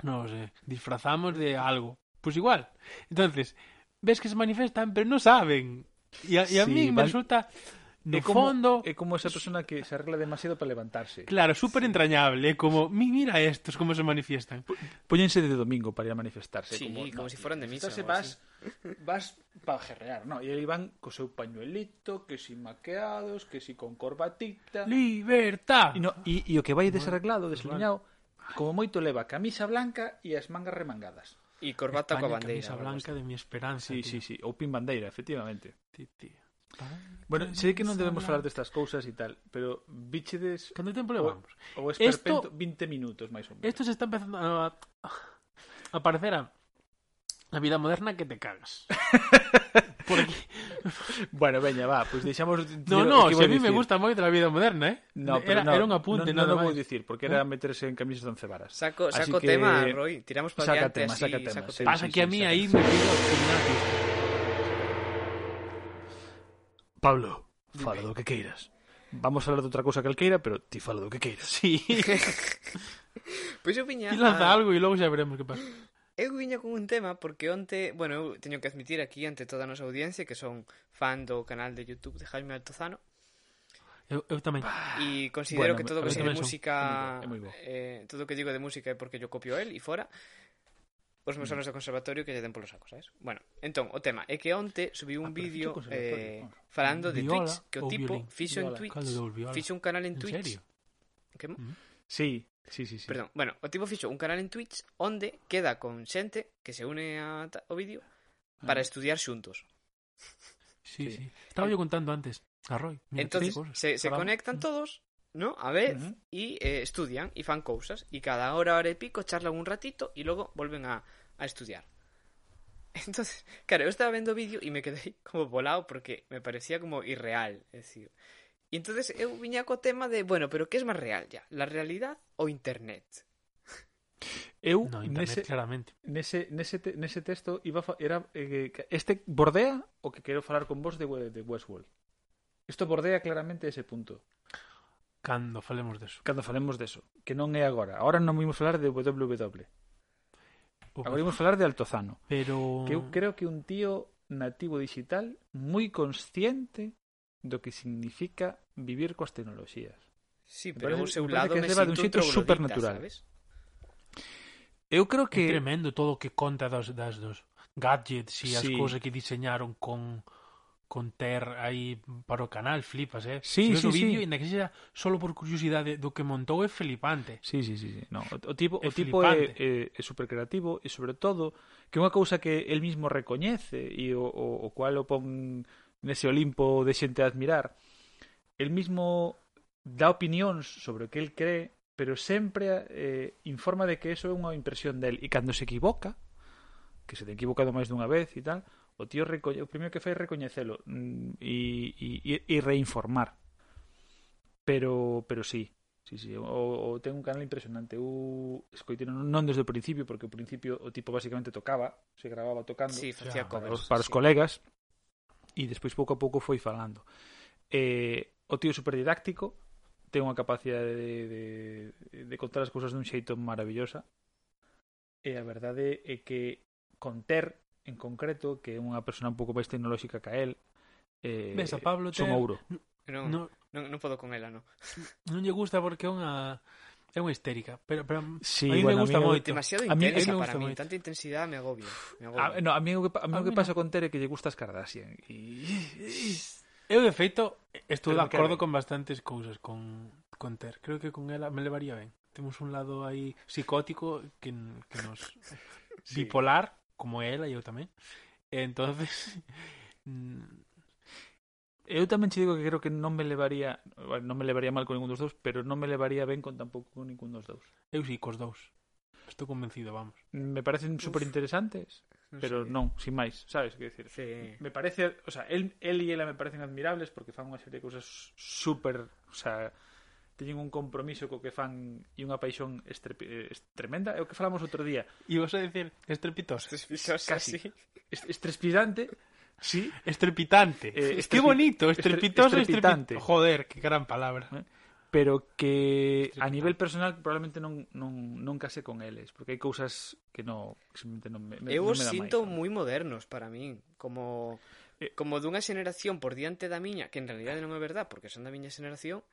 S2: nos eh, disfrazamos de algo. Pois igual. Entonces, ves que se manifestan, pero non saben. E a, e a
S4: Sí,
S2: mí me
S4: van-
S2: resulta de
S4: É como-
S2: fondo. eh,
S4: É como esa persona que se arregla demasiado para levantarse.
S2: Claro, súper entrañable, como, "Mi- mira estos cómo se manifiestan.
S4: Póñense de domingo para ir a manifestarse.
S3: Sí, como, si fueran de misa.
S4: Entonces
S3: o algo así.
S4: vas, vas para gerrear, ¿no? Y ahí van con su pañuelito, que si maqueados, que si con corbatita.
S2: ¡Libertad!
S4: Y, no, y, e o que vai desarreglado, desliñado, como moito leva camisa blanca e as mangas remangadas.
S3: Y corbata
S2: España,
S3: con bandeira.
S2: camisa
S3: o algo
S2: blanca de mi esperanza.
S4: Sí, sí,
S2: tío.
S4: sí, ou pin bandeira, efectivamente.
S2: Ti, tío.
S4: Bueno, sei que non debemos falar destas cousas e tal, pero bichedes
S2: ¿Cuánto tiempo le
S4: o,
S2: vamos?
S4: o esperpento 20 minutos máis ou menos.
S2: Esto se está empezando a, a parecer a la vida moderna que te cagas. Porque...
S4: Bueno, veña, va, pois pues deixamos
S2: No, no, si a mí me gusta moito la vida moderna, ¿eh?
S4: No,
S2: era,
S4: pero no,
S2: era un apunte,
S4: no,
S2: nada ¿Eh?
S4: no, vou
S2: máis.
S4: dicir, porque era meterse en camisas de once varas.
S3: Saco,
S4: Así
S3: saco
S4: que-
S3: tema, Roy. Tiramos para
S4: Saca
S3: adelante
S4: tema,
S3: así.
S4: saca tema,
S3: saco
S4: sí.
S3: tema.
S2: Pasa que a mí
S4: sí,
S2: ahí
S4: sí.
S2: me pido al gimnasio.
S7: Pablo, fala do que queiras. Vamos a hablar de otra cosa que alqueira, pero ti fala do que queiras.
S2: Sí,
S3: Pois eu viña
S2: y lanza
S3: a-
S2: algo y luego ya veremos qué pasa.
S3: Eu viña ah, con un tema porque onte, bueno, eu teño que admitir aquí ante toda a nosa audiencia que son fan do canal de YouTube de Jaime Altozano
S2: Eu, eu tamén.
S3: e considero
S4: Bueno,
S3: que todo o
S2: a mí
S3: que sei de
S2: tamén son-
S3: música
S4: é moi bo, é moi bo.
S3: eh, todo o que digo de música é porque yo copio el e fora os meus anos de conservatorio que lle den polo saco, sabes? Bueno, entón, o tema é que onte subí un
S4: Ah, pero
S3: vídeo
S4: fixo
S3: eh,
S4: conservatorio, ah.
S3: falando de
S2: Viola
S3: Twitch que o
S2: ou
S3: tipo
S2: violín?
S3: fixo en
S4: Viola,
S3: Twitch
S2: Caldo de viola.
S3: fixo un canal en
S2: ¿En
S3: Twitch
S2: serio?
S3: Que mo-
S4: Sí, sí, sí, sí.
S3: Perdón, bueno, o tipo fichó un canal en Twitch onde queda con xente que se une a ta- ao vídeo para estudiar xuntos.
S2: Sí, sí.
S4: Sí.
S2: Estaba yo contando antes a Roy. Mira,
S3: Entonces,
S2: qué cosas.
S3: se, se
S2: Hablamos.
S3: conectan todos, ¿no? A vez,
S4: Mm. Ujú.
S3: y eh, estudian y fan cosas. Y cada hora, hora y pico, charlan un ratito y luego vuelven a, a estudiar. Entonces, claro, yo estaba viendo vídeo y me quedé como volado porque me parecía como irreal. Es decir. Y entonces eu viña co tema de, bueno, pero que es más real ya? La realidad o internet?
S4: Eu
S2: No, internet,
S4: nese,
S2: claramente.
S4: nese, nese, te, nese texto iba a fa- era eh, que- este bordea o que quero falar con vos de, We- de Westworld. Isto bordea claramente ese punto.
S2: Cando falemos de eso.
S4: Cando falemos deso, que non é agora. Agora non vimos falar de WW. Agora vimos falar de Altozano,
S2: Pero...
S4: que eu creo que un tío nativo digital moi consciente do que significa vivir coas tecnoloxías.
S3: Sí,
S4: Me
S3: pero o seu
S4: parece- me parece
S3: lado
S4: que
S3: me
S4: leva de un
S3: sinto un
S4: sitio
S3: troglodita,
S4: supernatural.
S3: sabes?
S4: Eu creo
S2: É
S4: que
S2: tremendo todo o que conta das, das dos gadgets e as
S4: Sí.
S2: cousas que diseñaron con con ter aí para o canal, flipas, eh?
S4: Sí,
S2: Se ves
S4: sí,
S2: o vídeo,
S4: sí.
S2: ainda que sexa solo por curiosidade do que montou, é flipante.
S4: Sí, sí, sí, sí. No, o, o tipo,
S2: É
S4: o tipo é,
S2: flipante.
S4: é, é super creativo e sobre todo que é unha cousa que el mismo recoñece e o, o, o cual o pon nese Olimpo de xente a admirar. El mismo dá opinións sobre o que el cree, pero sempre eh, informa de que eso é unha impresión del e cando se equivoca, que se te equivocado máis dunha vez e tal, o tío recolle, o primeiro que fai é recoñecelo mm, e, e, e- e reinformar. Pero pero sí, sí, sí, o, o ten un canal impresionante. Eu escoitei non non desde o principio porque o principio o tipo basicamente tocaba, se grababa tocando
S3: Sí,
S2: Ya,
S3: facía
S4: para
S3: covers.
S4: os, para os
S3: sí.
S4: colegas e despois pouco a pouco foi falando. Eh, o tío é super didáctico, ten unha capacidade de, de, de contar as cousas dun xeito maravillosa. E a verdade é que con Ter, en concreto, que é unha persona un pouco máis tecnolóxica que a él, eh,
S2: Ves a Pablo
S4: son
S2: Ter-
S4: ouro.
S3: Non, non,
S2: Non,
S3: non podo con ela, non.
S2: non lle gusta porque é unha é unha histérica, pero pero
S4: Sí,
S2: a mí me
S4: bueno, a mí
S2: gusta
S4: me- Ah,
S2: moito.
S3: Demasiado
S4: A mí-
S2: a
S3: intensa
S2: mí me
S3: para
S2: gusta
S3: mí.
S2: moito.
S3: Tanta intensidade me agobia. Me agobia.
S4: A, no, a mí o que, pa- a mí
S2: A
S4: o que
S2: mí
S4: pasa con Ter é que lle gusta as Kardashian. E...
S2: Eu de feito estou de
S4: Pero me cae
S2: acordo
S4: ben.
S2: con bastantes cousas con con Ter. Creo que con ela me levaría ben. Temos un lado aí psicótico que, n- que nos
S4: Sí.
S2: bipolar como ela e eu tamén. E entonces mm,
S4: Eu tamén che digo que creo que non me levaría bueno, non me levaría mal con ningún dos dous, pero non me levaría ben con tampouco con ningún dos dous.
S2: eu si cos dous. Estou convencido, vamos.
S4: Me parecen super interesantes, pero
S3: sei.
S4: non, sin máis, sabes que decir?
S3: Sí.
S4: Me parece, o sea, él, él y ela me parecen admirables porque fan unha serie de cousas super, o sea, teñen un compromiso co que fan e unha paixón estrepe- eh, est- tremenda, é o que falamos outro día,
S2: E vos a decir estrepitoso.
S3: Estes pisos así.
S4: Casi. est estrespidante, sí,
S2: Estrepitante. Qué
S4: Eh, estrepi-
S2: bonito,
S4: estre-
S2: estrepitoso, estrepitante.
S4: estrepitante.
S2: Joder, qué gran palabra.
S4: pero que a
S2: Estrepitante.
S4: nivel personal probablemente non, non, non case con eles, porque hai cousas que no, que simplemente non me, me,
S3: Eu os
S4: non me da eh.
S3: sinto
S4: máis.
S3: moi modernos para min, como como dunha xeneración por diante da miña, que en realidade non é verdad, porque son da miña xeneración,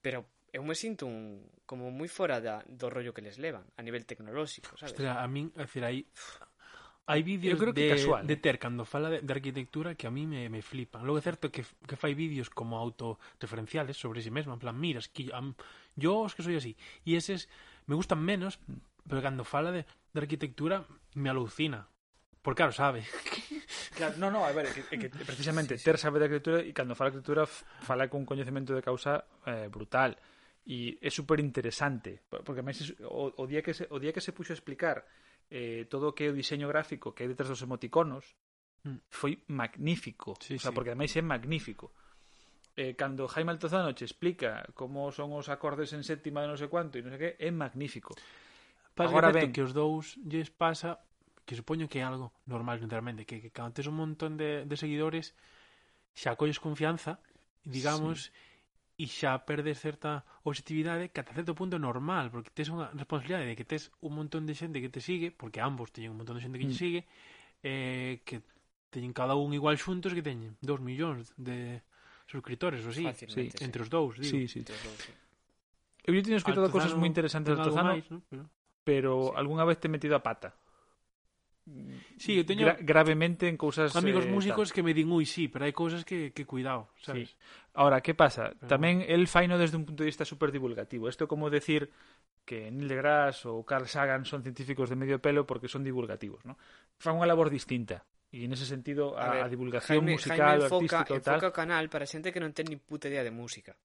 S3: pero eu me sinto un, como moi fora da, do rollo que les levan a nivel tecnolóxico, sabes?
S2: Ostras, a min, é dicir, hai hai vídeos
S4: Eu creo
S2: de,
S4: que casual. ¿eh?
S2: de Ter cando fala de, de arquitectura que a mí me, me flipan. Logo é certo que, que fai vídeos como autorreferenciales sobre si mesmo, en plan, miras, que am, yo es que soy así. E eses me gustan menos, pero cando fala de, de arquitectura me alucina. Porque claro, sabe.
S4: Claro, no, no, a ver, é que, é que precisamente Ter sabe de arquitectura e cando fala de arquitectura f- fala con coñecemento de causa eh, brutal e é super interesante porque máis es- o, o día que se, o día que se puxo a explicar eh, todo o que é o diseño gráfico que hai detrás dos emoticonos
S2: Mm.
S4: foi magnífico
S2: Sí,
S4: o sea,
S2: sí.
S4: porque ademais é magnífico eh, cando Jaime Altozano che explica como son os acordes en séptima de non sei cuánto e non sei que, é magnífico
S2: Pasa
S4: Agora
S2: Agora que,
S4: ben.
S2: que os dous lles pasa que supoño que é algo normal literalmente, que, que cando tes un montón de, de seguidores xa colles confianza, digamos, sí. e xa perdes certa objetividade que ata certo punto é normal, porque tes unha responsabilidade de que tes un montón de xente que te sigue, porque ambos teñen un montón de xente que mm. te
S4: Mm.
S2: sigue, eh, que teñen cada un igual xuntos que teñen 2 millóns de suscriptores, ou así,
S3: Fácilmente, sí.
S2: entre os dous, digo.
S4: sí.
S3: Entre os dous, sí.
S4: Eu lle teño escrito cosas
S2: Altozano
S4: moi interesantes
S2: ten
S4: de
S2: algo
S4: Altozano
S2: máis, ¿no? Pero...
S4: pero
S3: Sí.
S4: algunha vez te he metido a pata.
S2: Sí, eu teño-
S4: Gra- gravemente en cousas
S2: amigos
S4: eh,
S2: músicos que me din, ui, sí, pero hai cousas que, que cuidado,
S4: tal.
S2: sabes?
S4: Sí. Ahora, que pasa?
S2: Pero
S4: Tamén el faino desde un punto de vista super divulgativo. Isto é como decir que Neil deGrasse ou Carl Sagan son científicos de medio pelo porque son divulgativos, ¿no? Fan unha labor distinta. E en ese sentido
S3: A
S4: a, a,
S3: ver,
S4: divulgación
S3: Jaime,
S4: musical,
S3: Jaime enfoca,
S4: artística ou tal,
S3: enfoca o canal para xente que non ten ni puta idea de música.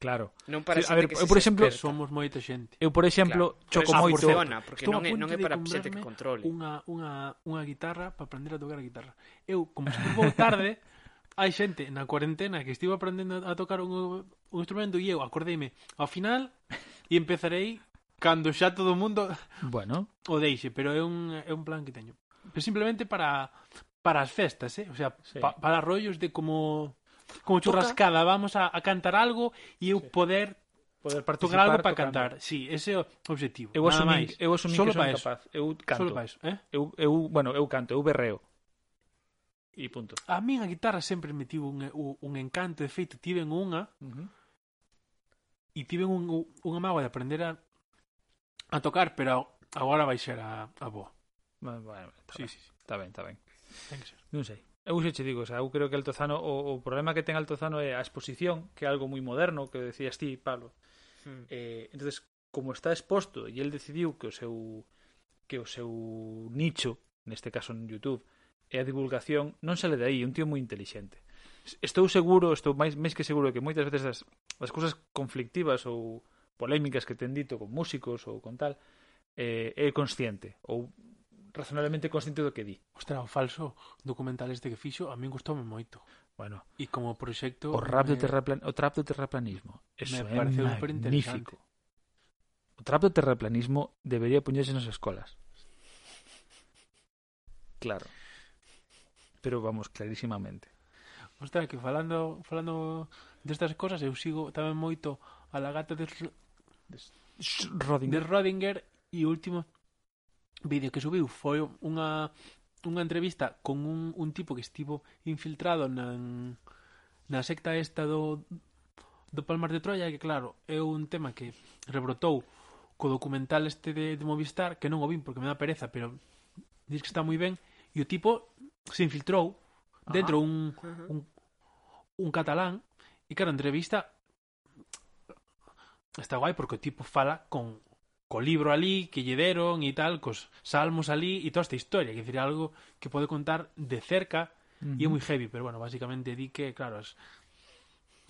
S4: claro.
S3: Non para
S4: Sí, a
S3: xente
S4: ver,
S3: que se
S4: eu, por exemplo,
S3: experta.
S2: Somos moita xente.
S4: Eu, por exemplo,
S3: Claro.
S4: choco
S3: Por eso
S4: moito
S3: funciona, porque
S2: Estou a
S3: non é,
S2: punto
S3: non é
S2: de
S3: para xente que
S2: comprarme
S3: controle.
S2: Unha, unha, unha guitarra para aprender a tocar a guitarra. Eu, como sempre vou tarde, hai xente na cuarentena que estivo aprendendo a tocar un, un instrumento e eu acordeime ao final e empezarei cando xa todo o mundo
S4: Bueno,
S2: o deixe, pero é un, é un plan que teño. Pero simplemente para para as festas, eh? O sea,
S4: Sí.
S2: pa, para rollos de como como churrascada, vamos a, a cantar algo e eu sí. poder
S4: poder
S2: tocar
S4: participar
S2: algo para
S4: tocando.
S2: cantar. Sí, ese é o obxectivo.
S4: Eu
S2: Nada
S4: asumín,
S2: máis.
S4: eu asumín
S2: Solo
S4: que son
S2: pa eso.
S4: capaz. Eu canto.
S2: Solo para eso, eh?
S4: Eu, eu, bueno, eu canto, eu berreo. E punto.
S2: A min a guitarra sempre me tivo un, un, un encanto, de feito, tiven unha e tiven un, un- unha mágoa de aprender a, a tocar, pero agora vai ser a, a boa.
S4: Bueno, bueno, está,
S2: Sí,
S4: ben,
S2: sí, sí.
S4: está ben, está ben.
S2: Ten que ser.
S4: Non sei. Eu xa che digo, o sea, eu creo que Altozano o, o problema que ten Altozano é a exposición, que é algo moi moderno, que decías ti, Pablo.
S2: Hmm.
S3: Mm.
S4: Eh, entonces, como está exposto e el decidiu que o seu que o seu nicho, neste caso en YouTube, é a divulgación, non sale de aí, é un tío moi intelixente. S- Estou seguro, estou máis, máis que seguro que moitas veces as, as cousas conflictivas ou polémicas que ten dito con músicos ou con tal, eh, é consciente ou razonablemente consciente do que di.
S2: Ostras, o falso documental este que fixo a min gustoume moito.
S4: Bueno,
S2: E como proxecto...
S4: o rap do
S2: me-
S4: terraplan, o trap do terraplanismo, eso
S2: me
S4: é
S2: pareceu superinteresante.
S4: magnífico. O trap do terraplanismo debería poñerse nas escolas. Claro. Pero vamos, clarísimamente.
S2: Ostras, que falando falando destas cosas eu sigo tamén moito a la gata de, Sch- de
S4: Rodinger.
S2: Rodinger e o último vídeo que subiu foi unha unha entrevista con un, un tipo que estivo infiltrado na, na secta esta do, do Palmar de Troia que claro, é un tema que rebrotou co documental este de, de Movistar que non o vin porque me dá pereza pero dis que está moi ben e o tipo se infiltrou dentro un,
S3: Ajá.
S2: un, un catalán e claro, a entrevista está guai porque o tipo fala con co libro ali que lle deron e tal, cos salmos ali e toda esta historia, que decir, algo que pode contar de cerca e é moi heavy, pero bueno, basicamente di que, claro, as,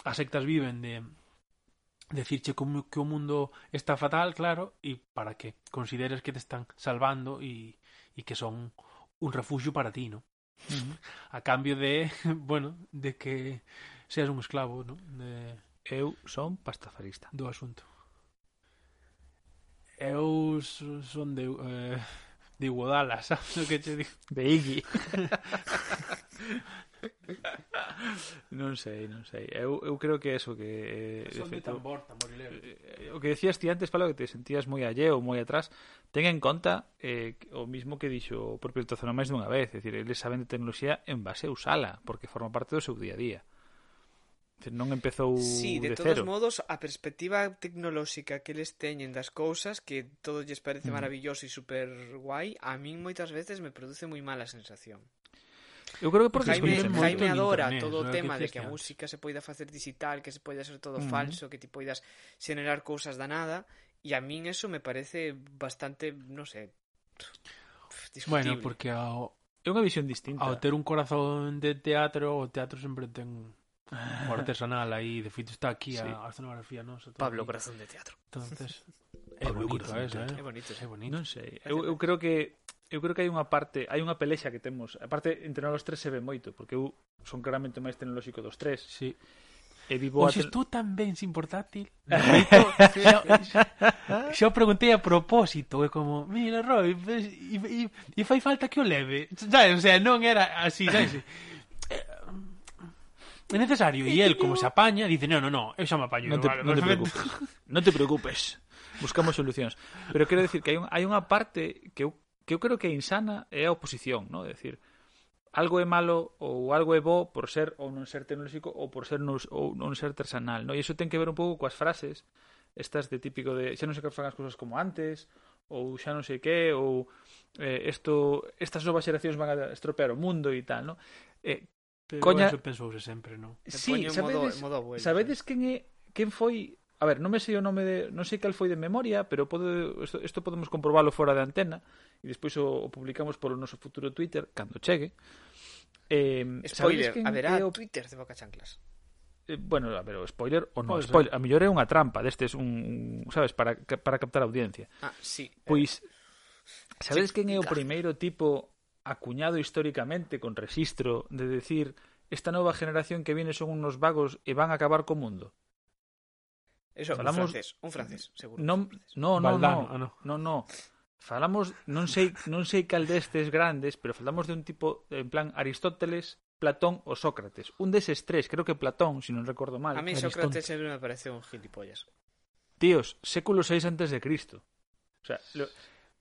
S2: as sectas viven de decirche como que o mundo está fatal, claro, e para que consideres que te están salvando e, e que son un refugio para ti, ¿no? A cambio de, bueno, de que seas un esclavo, ¿no? De,
S4: Eu son pastafarista.
S2: do asunto. Eu s- son de eh, de Iguodala, sabes o que che digo?
S4: De Iggy. Non sei, non sei. Eu, eu creo que eso que eh, de
S2: Son de
S4: feito,
S2: tambor, tamborilero.
S4: eh, o que decías ti antes, Pablo, que te sentías moi alleo, moi atrás, ten en conta eh, o mismo que dixo o propio Altozano máis dunha vez, é dicir, eles saben de tecnoloxía en base a usala, porque forma parte do seu día a día. É dicir, Non empezou
S3: Sí, de,
S4: de,
S3: todos
S4: cero.
S3: modos, a perspectiva tecnolóxica que les teñen das cousas que todo lles parece maravilloso e super guai, a min moitas veces me produce moi mala sensación.
S4: Eu creo que porque
S3: Jaime,
S4: escoiten
S2: moito
S3: Jaime
S2: en
S3: adora
S2: internet,
S3: todo
S2: non é
S3: o
S2: o que
S3: tema
S2: dicías
S3: de que a
S2: antes.
S3: música se poida facer digital, que se poida ser todo
S4: Ujú.
S3: falso, que ti poidas xenerar cousas da nada, e a min eso me parece bastante, no sé, pf,
S2: Bueno,
S3: discutible.
S2: porque ao,
S4: É unha visión distinta.
S2: ao ter un corazón de teatro, o teatro sempre ten o artesanal aí, de feito está aquí
S4: Sí.
S2: a, a escenografía nosa. todo
S3: Pablo
S2: aí.
S3: Corazón de Teatro.
S2: Entonces, é
S4: Pablo
S2: bonito
S4: Corazón de
S2: eso, eh?
S3: É bonito, sí.
S2: É bonito.
S4: Non sei, eu, eu creo que eu creo que hai unha parte, hai unha pelexa que temos. A parte entre nós tres se ve moito, porque eu son claramente o máis tecnolóxico dos tres
S2: Sí.
S4: e vivo a
S2: Oxe,
S4: tel...
S2: estou tan ben sin portátil. Feito, xa, xa, xa o preguntei a propósito, é como, mira, Roy, ves, e, e, e fai falta que o leve. Sabes, o sea, non era así, sabes? Eh, É necesario, e el como se apaña, dice, no, no, no, eu xa me apaño.
S4: non te,
S2: vale,
S4: non te
S2: perfecto".
S4: preocupes. Non te preocupes. Buscamos solucións. Pero quero decir que hai, un, hai unha parte que eu, que eu creo que é insana é a oposición, ¿no? De decir, algo é malo ou algo é bo por ser ou non ser tecnolóxico ou por ser non, ou non ser artesanal, ¿no? E iso ten que ver un pouco coas frases estas de típico de xa non se fan as cousas como antes ou xa non sei que ou eh, esto, estas novas xeracións van a estropear o mundo e tal, ¿no? Eh,
S2: Pero
S4: Coña-
S2: eso pensouse sempre, non?
S3: Me poño en modo, en modo abuelo.
S4: Sabedes quen é quen foi A ver, non me sei o nome de, non sei cal foi de memoria, pero pode isto, isto podemos comprobalo fora da antena e despois o, o publicamos polo noso futuro Twitter cando chegue. Eh, sabedes
S3: Spoiler,
S4: quen
S3: haberá
S4: é o,
S3: Twitter de Boca Chanclas.
S4: eh, bueno, a ver, o spoiler ou
S2: Pode
S4: non,
S3: Pois,
S2: ser.
S4: spoiler, a mellor é unha trampa destes un, un sabes, para ca- para captar a audiencia.
S3: Ah, sí.
S4: Pois sabedes
S3: sí,
S4: quen é o
S3: claro.
S4: primeiro tipo acuñado históricamente con rexistro de decir esta nova generación que viene son unos vagos e van a acabar co mundo?
S3: Eso,
S4: falamos-
S3: un francés, un francés, seguro.
S4: Non, no, no,
S2: Valdano,
S4: no,
S2: ah, no.
S4: no, no. Falamos, non sei, non sei cal destes grandes, pero falamos de un tipo en plan Aristóteles, Platón ou Sócrates. Un deses tres, creo que Platón, se non recordo mal.
S3: A mí
S2: Aristóteles.
S3: Sócrates sempre me parece un gilipollas.
S4: Tíos, século 6 antes de Cristo. O sea, lo,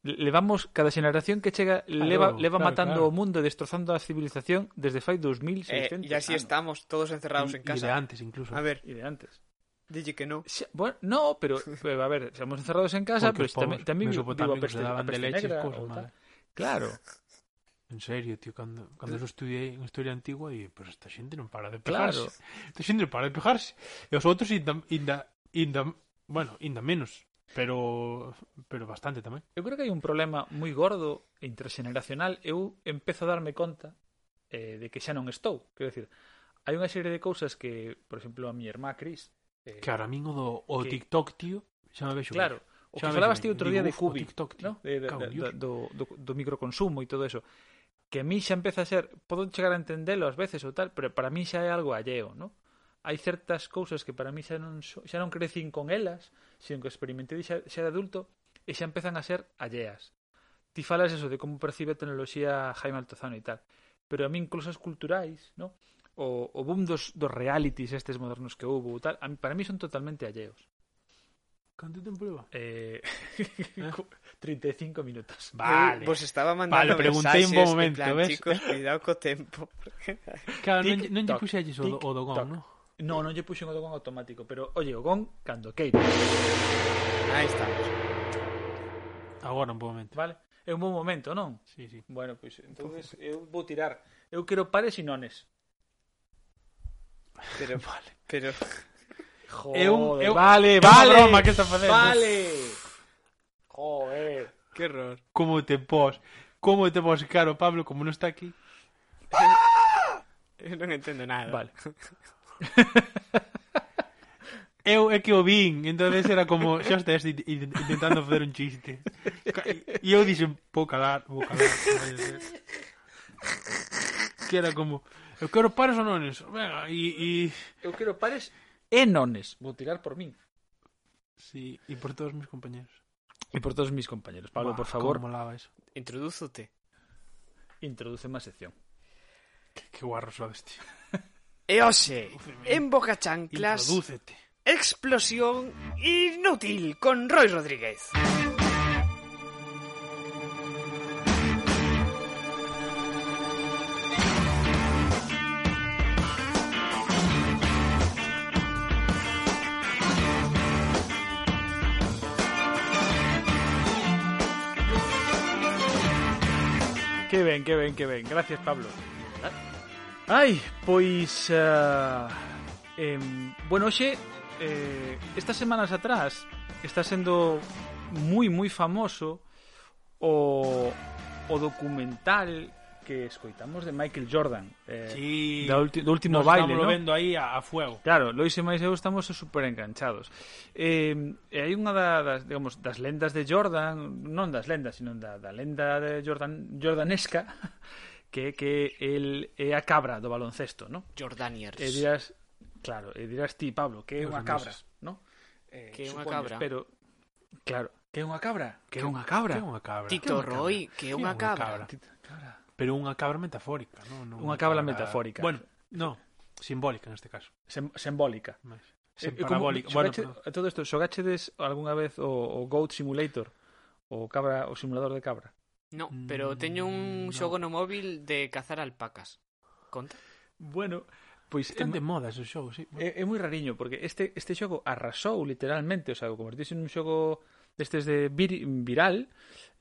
S4: levamos cada xeración que chega leva leva
S2: claro,
S4: matando
S2: claro.
S4: o mundo e destrozando a civilización desde fai
S3: Eh,
S4: 2600
S3: y así
S4: anos.
S3: estamos, todos encerrados
S2: E
S3: en
S2: de
S3: casa.
S2: antes, incluso.
S3: A ver,
S4: E de antes.
S3: dille que no.
S4: Xa- Bueno, no, pero, pero, a ver, estamos encerrados en casa,
S2: Porque
S4: pero
S2: os
S4: tamén
S2: povos
S4: tamén vivo, vivo a
S2: mesopotámicos
S4: peste,
S2: se
S4: a
S2: daban de
S4: peste
S2: leches,
S4: negra.
S2: cousas
S4: ou tal.
S2: malas.
S4: Claro.
S2: En serio, tío, cando, cando eu estudiei en historia antigua e, pero esta xente non para de pegarse.
S4: Claro.
S2: Esta xente non para de pegarse. E os outros inda, inda, inda, bueno, inda menos, pero pero bastante tamén.
S4: Eu creo que hai un problema moi gordo e interxeneracional. Eu empezo a darme conta eh, de que xa non estou. Quero decir, hai unha serie de cousas que, por exemplo, a miña irmá Cris... Eh,
S2: Que ahora min o do o
S4: Que-
S2: TikTok, tío, xa me vexo.
S4: claro, o
S2: Xa
S4: que
S2: me ven,
S4: falabas ti outro
S2: digo,
S4: día de
S2: "Uf, o
S4: Cubi,
S2: TikTok, tío,
S4: ¿no? de, de,
S2: cago en
S4: de,
S2: Dios".
S4: do, do, do microconsumo e todo eso. Que a mí xa empeza a ser... Podo chegar a entendelo ás veces ou tal, pero para mí xa é algo alleo, ¿no? hai certas cousas que para mí xa non, so- xa non crecín con elas, sino que experimentei xa, xa de adulto e xa empezan a ser alleas. Ti falas eso de como percibe a tecnoloxía Jaime Altozano e tal, pero a mí incluso as culturais, no? o, o boom dos, dos realities estes modernos que houve ou tal, a mí, para mí son totalmente alleos.
S2: Canto tempo leva?
S4: Eh... 35 minutos.
S2: Vale.
S3: Eu Vos estaba mandando
S2: Vale, preguntei un
S3: mensaxes
S2: bo momento,
S3: en plan,
S2: ves?
S3: chicos, cuidado co tempo.
S2: Claro, non, lle- non lle
S4: TikTok,
S2: puxelles o, do- o do
S4: TikTok.
S2: gong, non?
S4: No, non lle puxen o do gong automático, pero oye, o gong cando queira.
S3: Aí estamos.
S2: Agora un bo momento.
S4: Vale? É un bon momento, non?
S2: Sí, sí.
S4: Bueno, pois entonces eu vou tirar. Eu quero pares e nones.
S3: Pero,
S2: Vale.
S3: pero
S4: Joder,
S2: un- é un-
S4: vale,
S2: é unha
S4: vale.
S2: broma que está facendo.
S4: Vale. Joder.
S3: que error.
S2: Como te pos? Como te pos, caro Pablo, como non está aquí?
S3: Eu non entendo nada.
S4: Vale.
S2: Eu é que o vin, entonces era como xa estás in- in- intentando facer un chiste. E eu dixen, vou calar, vou calar. vale, vale". Que era como, eu quero pares ou nones. Venga, e, e,
S4: Eu quero pares e nones. Vou tirar por min
S2: sí, e por todos os meus compañeros.
S4: e por todos mis compañeros. Pablo,
S2: Buah,
S4: por favor,
S2: Como molaba eso.
S3: Introdúzote.
S4: introduce má sección.
S2: Qué, qué guarros lo ves, tío.
S3: Eose,
S2: Ufeme.
S3: en boca chanclas,
S2: Introdúcete.
S3: explosión inútil con Roy Rodríguez.
S4: Que ben, que ben, que ben. Gracias, Pablo.
S2: ¿Ah?
S4: Ai, pois... Uh, eh, bueno, oxe, eh, estas semanas atrás está sendo moi, moi famoso o, o documental que escoitamos de Michael Jordan. Eh,
S2: Sí.
S4: da ulti- do último
S2: nos
S4: baile,
S2: estamos
S4: ¿no?
S2: lo vendo aí a, a fuego.
S4: Claro, Lois e máis eu estamos super enganchados. Eh, e hai unha da, das, digamos, das lendas de Jordan, non das lendas, sino da, da lenda de Jordan, jordanesca, que é que el é a cabra do baloncesto, ¿no?
S3: Jordaniers.
S4: E dirás, claro, e dirás ti, Pablo, que é
S2: Os
S4: unha cabra,
S2: famosos.
S4: ¿no? Eh,
S3: Que é unha
S4: supoño,
S3: cabra.
S4: Pero, claro, que é unha cabra, que é unha cabra.
S2: Que é unha cabra.
S3: Tito Roy, que é unha cabra.
S4: Cabra.
S2: Pero unha cabra metafórica, non? non
S4: Unha cabra metafórica.
S2: Bueno, no, simbólica neste caso.
S4: Sem- Sembólica.
S2: Máis.
S4: Eh,
S2: Sen
S4: como-
S2: parabólica. Bueno,
S4: xogache-
S2: perdón.
S4: a eh, todo isto, xogachedes algunha vez o, o Goat Simulator? O cabra, o simulador de cabra?
S3: No, pero teño un
S2: Mm, no.
S3: xogo no móvil de cazar alpacas. Conta?
S4: Bueno, pois é,
S2: están de moda esos xogos, sí.
S4: é, é moi rariño, porque este, este xogo arrasou literalmente, o sea, convertirse nun xogo destes de vir, viral,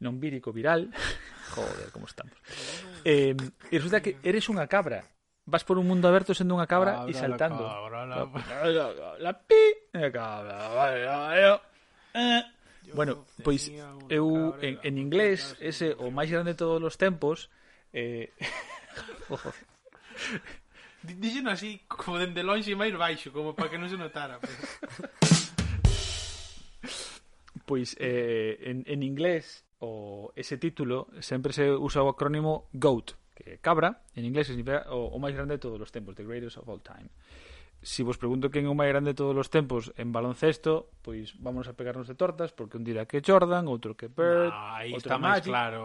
S4: non vírico, viral. Joder, como estamos. Eh, e resulta que eres unha cabra. Vas por un mundo aberto sendo unha cabra e
S2: Cabra, la
S4: saltando.
S2: cabra, la-
S4: La, la pi, eh, cabra, vale, vale, eh. Bueno, pois eu en, en inglés ese o máis grande de todos os tempos eh, ojo,
S2: Di- Díxeno así, como dende lonxe e máis baixo, como para que non se notara. Pero...
S4: pois eh, en, en inglés o ese título sempre se usa o acrónimo GOAT que é cabra, en inglés significa o, o máis grande de todos os tempos, the greatest of all time si vos pregunto quen é o máis grande de todos os tempos en baloncesto, pois vamos a pegarnos de tortas, porque un dirá que Jordan, outro que Bird,
S2: No, aí
S4: outro
S2: está máis
S4: Magic.
S2: claro.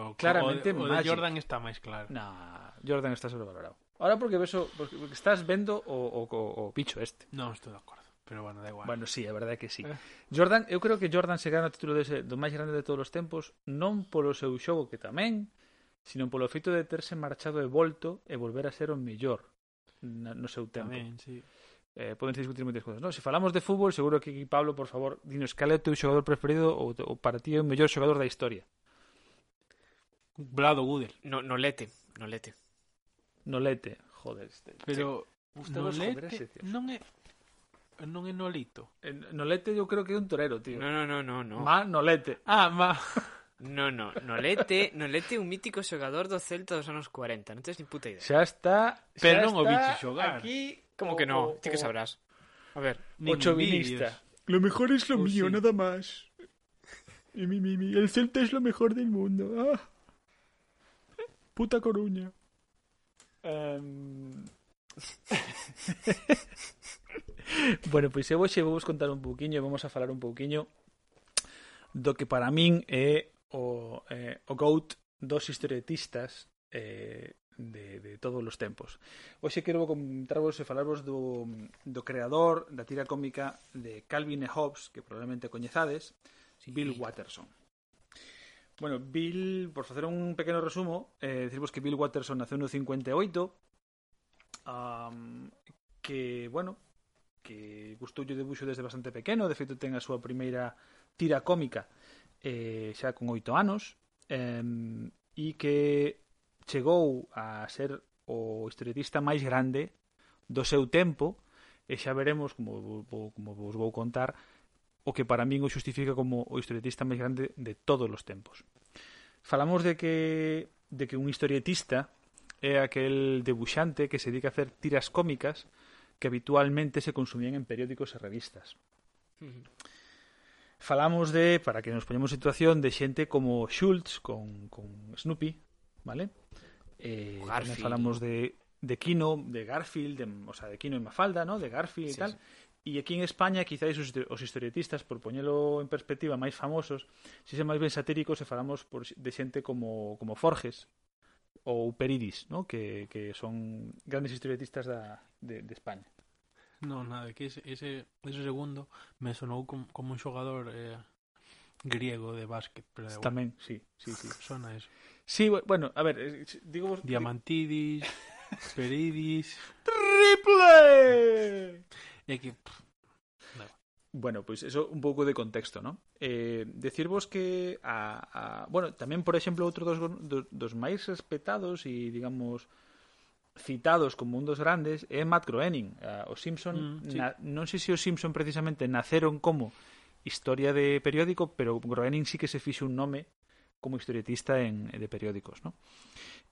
S2: o,
S4: Claramente
S2: de- o de
S4: Magic. Mm.
S2: Jordan está máis claro.
S4: Nah, Jordan está sobrevalorado. Ahora porque ves o- porque porque estás vendo o, o, o, o bicho este.
S2: Non estou de acordo. Pero bueno, da igual.
S4: Bueno, sí, é verdade que sí.
S2: Eh.
S4: Jordan, eu creo que Jordan se gana o título de do máis grande de todos os tempos non polo seu xogo que tamén, sino polo feito de terse marchado e volto e volver a ser o mellor na, no seu tempo.
S2: Tamén, sí.
S4: Eh, podense discutir moitas cousas, non? Se falamos de fútbol, seguro que aquí, Pablo, por favor, dinos cal é o teu xogador preferido ou, o para ti é o mellor xogador da historia.
S2: Blado Gudel.
S3: No, nolete, nolete.
S4: Nolete, joder, este.
S2: Pero
S4: Gústanos joder ese,
S2: Nolete
S4: tío.
S2: non é non é Nolito.
S4: Eh, Nolete eu creo que é un torero, tío.
S3: No, no, no, no, no.
S4: Ma Nolete.
S2: Ah, ma...
S3: No, no, nolete, nolete é un mítico xogador do Celta dos anos 40, non tens ni puta idea.
S4: Xa está, xa
S2: Pero non o
S4: está
S2: viches xogar.
S4: Aquí,
S3: Como que
S4: Oh,
S3: no, ti que sabrás. A ver,
S2: Nin
S4: Ochovinista. Lo mejor es lo
S2: Oh, mío, sí.
S4: nada más. El Celta es lo mejor del mundo. Puta Coruña. bueno, pois eu hoxe vou vos contar un pouquiño e vamos a falar un pouquiño do que para min é o, eh, o GOAT dos historietistas eh, de, de todos os tempos. Hoxe quero comentarvos e falarvos do, do creador da tira cómica de Calvin e Hobbes, que probablemente coñezades, Bill Watterson. Bueno, Bill, por facer un pequeno resumo, eh, decirvos que Bill Watterson naceu no 58, um, que, bueno, que gustoulle o debuxo desde bastante pequeno, de feito ten a súa primeira tira cómica eh, xa con oito anos, em, e que chegou a ser o historietista máis grande do seu tempo, e xa veremos, como, vo- vo- como vos vou contar, o que para min o xustifica como o historietista máis grande de todos os tempos. Falamos de que de que un historietista é aquel debuxante que se dedica a hacer tiras cómicas que habitualmente se consumían en periódicos e revistas. Falamos de, para que nos poñamos en situación, de xente como Schultz con, con Snoopy, vale? Eh, tamén
S3: Garfield.
S4: falamos de, de Kino, de Garfield, de, o sea, de Kino e Mafalda, ¿no? de Garfield e
S3: Sí,
S4: tal.
S3: sí.
S4: E aquí en España, quizáis os, os historietistas, por poñelo en perspectiva, máis famosos, se se máis ben satíricos, se falamos por, de xente como, como Forges, ou Peridis, ¿no? que, que son grandes historietistas da, de, de España.
S2: No, nada, que ese, ese, ese segundo me sonou com- como, un xogador eh, griego de básquet. Pero da igual,
S4: Tamén, sí, sí, sí.
S2: sona eso.
S4: Sí, bu- bueno, a ver, eh, digo...
S2: Diamantidis, Peridis...
S4: ¡Triple!
S2: É que
S4: Bueno, pues eso un pouco de contexto, ¿no? Eh, decirvos que a, a- bueno, tamén por exemplo outro dos, dos, dos máis respetados e digamos citados como un dos grandes é Matt Groening, a, o Simpson,
S2: Mm, sí.
S4: na, non sei se o Simpson precisamente naceron como historia de periódico, pero Groening sí que se fixe un nome como historietista en, de periódicos, ¿no?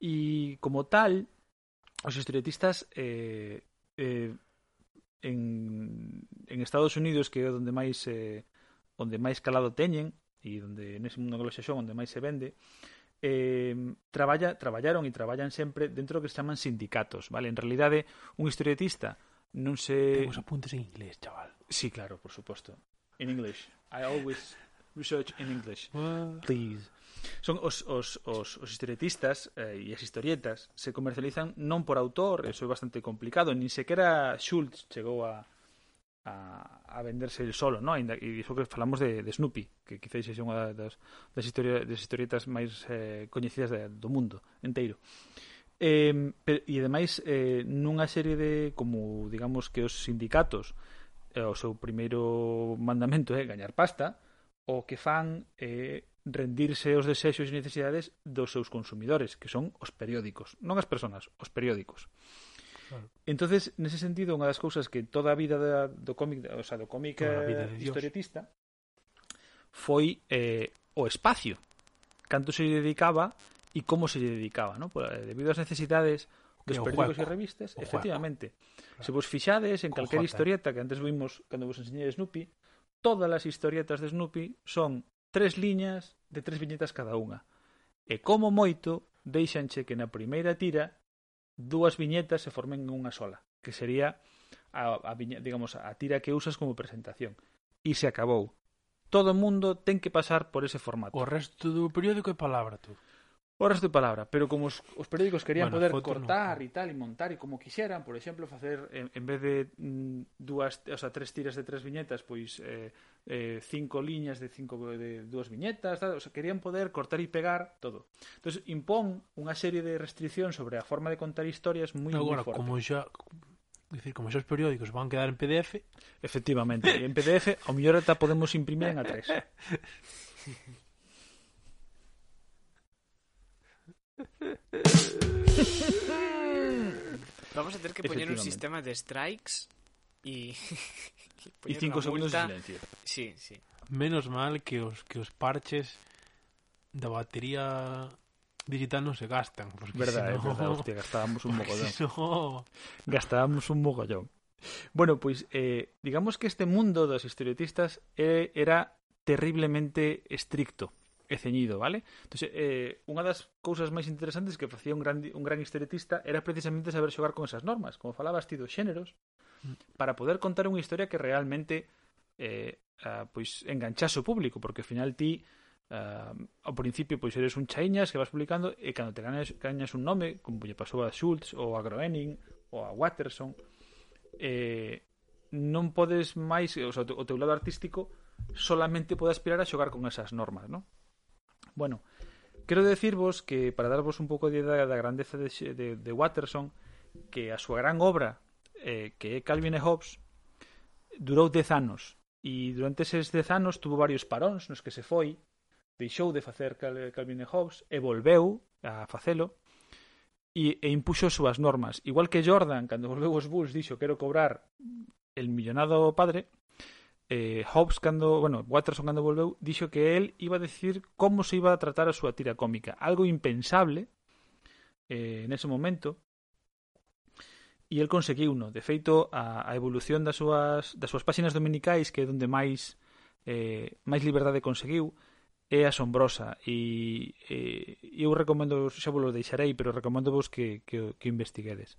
S4: E como tal, os historietistas eh, eh, en, en Estados Unidos que é onde máis eh, onde máis calado teñen e onde nese mundo anglosaxón onde máis se vende eh, traballa, traballaron e traballan sempre dentro do que se chaman sindicatos, vale? En realidade, un historietista non se...
S2: Tengo os apuntes en inglés, chaval.
S4: Sí, claro, por suposto. In English. I always research in English. Please. Son os, os, os, os historietistas eh, e as historietas se comercializan non por autor, eso é bastante complicado, nin sequera Schultz chegou a a, a venderse el solo, ¿no? Ainda, e iso que falamos de, de Snoopy, que quizáis é unha das, das, historia, das historietas máis eh, coñecidas de, do mundo enteiro. Eh, pero, e ademais eh, nunha serie de como digamos que os sindicatos eh, o seu primeiro mandamento é gañar pasta, o que fan é rendirse os desexos e necesidades dos seus consumidores, que son os periódicos, non as persoas, os periódicos.
S2: Claro.
S4: Entonces, nese sentido, unha das cousas que toda a vida da, do cómic, o sea, do cómic
S2: Toda a vida
S4: eh,
S2: de Dios.
S4: historietista foi eh, o espacio, canto se lle dedicaba e como se lle dedicaba, ¿no? Por, eh, debido ás necesidades dos
S2: E ao
S4: periódicos e
S2: hueco.
S4: revistas,
S2: O
S4: efectivamente. Se vos fixades en
S2: Con
S4: calquer
S2: J.
S4: historieta que antes vimos cando vos enseñei Snoopy, todas as historietas de Snoopy son tres liñas de tres viñetas cada unha. E como moito, deixanche que na primeira tira dúas viñetas se formen en unha sola, que sería a, a viñe- digamos, a tira que usas como presentación. E se acabou. Todo o mundo ten que pasar por ese formato.
S2: O resto do periódico é palabra, tú.
S4: Horas de palabra, pero como os, os periódicos querían
S2: Bueno,
S4: poder
S2: fotos no.
S4: cortar e tal e montar e como quixeran, por exemplo, facer en, en vez de mm, dúas, o sea, tres tiras de tres viñetas, pois eh, eh, cinco liñas de cinco de dúas viñetas, tal, o sea, querían poder cortar e pegar todo. Entonces impón unha serie de restriccións sobre a forma de contar historias moi moi
S2: Agora,
S4: forte.
S2: como xa... Dicir, como xa os periódicos van quedar en PDF,
S4: Efectivamente, e en PDF ao mellor ata podemos imprimir en A3.
S3: Vamos a tener que poner un
S4: Efectivamente.
S3: sistema de strikes y.
S4: E
S3: poner
S4: cinco
S3: una
S4: segundos
S3: multa.
S4: de silencio.
S3: Sí, sí.
S2: menos mal que os que os parches da batería digital non se gastan, porque
S4: Verdade, é
S2: senón-
S4: verdade, hostia, gastábamos un
S2: porque
S4: mogollón.
S2: senón-
S4: gastábamos un mogollón. Bueno, pois eh, digamos que este mundo dos historietistas eh, era terriblemente estricto e ceñido, vale? Entón, eh, unha das cousas máis interesantes que facía un gran, un gran historietista era precisamente saber xogar con esas normas, como falabas ti dos xéneros, para poder contar unha historia que realmente eh, ah, pois enganchase o público, porque ao final ti ah, ao principio pois eres un chaiñas que vas publicando e cando te gañas, gañas un nome, como lle pasou a Schultz ou a Groening ou a Watterson, eh, non podes máis, o, sea, o teu- o teu lado artístico solamente pode aspirar a xogar con esas normas, non? Bueno, quero decirvos que para darvos un pouco de idea da grandeza de, Sh- de, de Watterson, que a súa gran obra, eh, que é Calvin e Hobbes, durou 10 anos. E durante eses 10 anos tuvo varios paróns nos que se foi, deixou de facer Cal- Calvin e Hobbes e volveu a facelo e, e impuxo as súas normas. Igual que Jordan, cando volveu os Bulls, dixo quero cobrar el millonado padre, eh, Hobbes, cando, bueno, Watterson, cando volveu, dixo que el iba a decir como se iba a tratar a súa tira cómica. Algo impensable eh, nese momento, e el conseguiu uno. De feito, a, a evolución das súas, das súas páxinas dominicais, que é onde máis eh, máis liberdade conseguiu, é asombrosa e eh, eu recomendo, xa vos lo deixarei, pero recomendo vos que, que, o- que o investiguedes.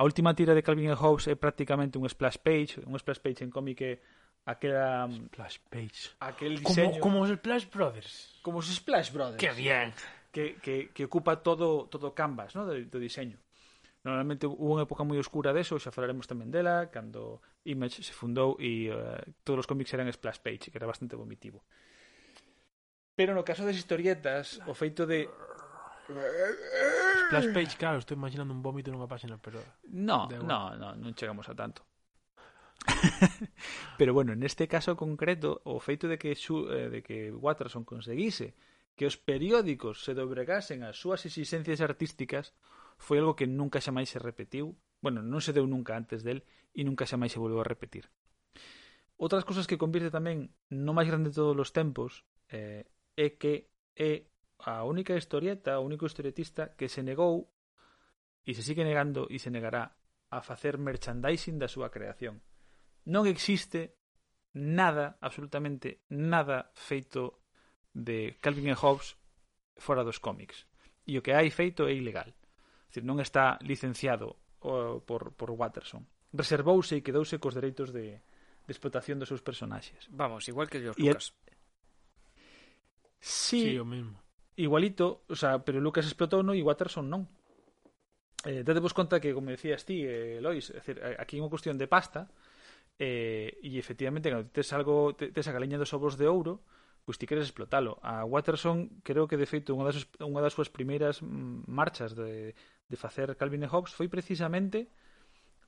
S4: A última tira de Calvin e Hobbes é prácticamente un splash page, un splash page en cómic que aquela,
S2: Splash Page.
S4: aquel
S2: Como,
S4: diseño...
S2: como os Splash Brothers.
S4: como os Splash Brothers.
S2: ¡Qué bien!
S4: que, que, que ocupa todo todo canvas ¿no? do, do diseño normalmente hubo unha época moi oscura deso xa falaremos tamén dela cando Image se fundou e eh, todos os cómics eran splash page que era bastante vomitivo pero no caso das historietas o feito de
S2: Splash page, claro, estoy imaginando un vómito nunha página, pero...
S4: No,
S2: Da igual.
S4: no, no, non chegamos a tanto. Pero bueno, neste caso concreto, o feito de que xu, eh, de que Watterson conseguise que os periódicos se dobregasen ás súas exigencias artísticas foi algo que nunca xa máis se repetiu. Bueno, non se deu nunca antes del e nunca xa máis se volveu a repetir. Outras cousas que convirte tamén no máis grande de todos os tempos eh, é que é a única historieta, o único historietista que se negou e se sigue negando e se negará a facer merchandising da súa creación. Non existe nada, absolutamente nada feito de Calvin and Hobbes fora dos cómics. E o que hai feito é ilegal. É dicir, non está licenciado o, por, por Watterson. Reservouse e quedouse cos dereitos de, de explotación dos seus personaxes.
S3: Vamos, igual que George
S4: Y el-
S3: Lucas.
S2: Sí,
S4: Si
S2: o mismo.
S4: igualito, o sea, pero Lucas explotou no e Watterson non. Eh, date vos conta que, como decías ti, eh, Lois, é dicir, a- aquí é unha cuestión de pasta eh, e efectivamente cando tes algo, te- tes a galeña dos ovos de ouro, pois ti queres explotalo. A Watterson, creo que de feito unha das, unha das súas primeiras mm, marchas de, de facer Calvin e Hobbes foi precisamente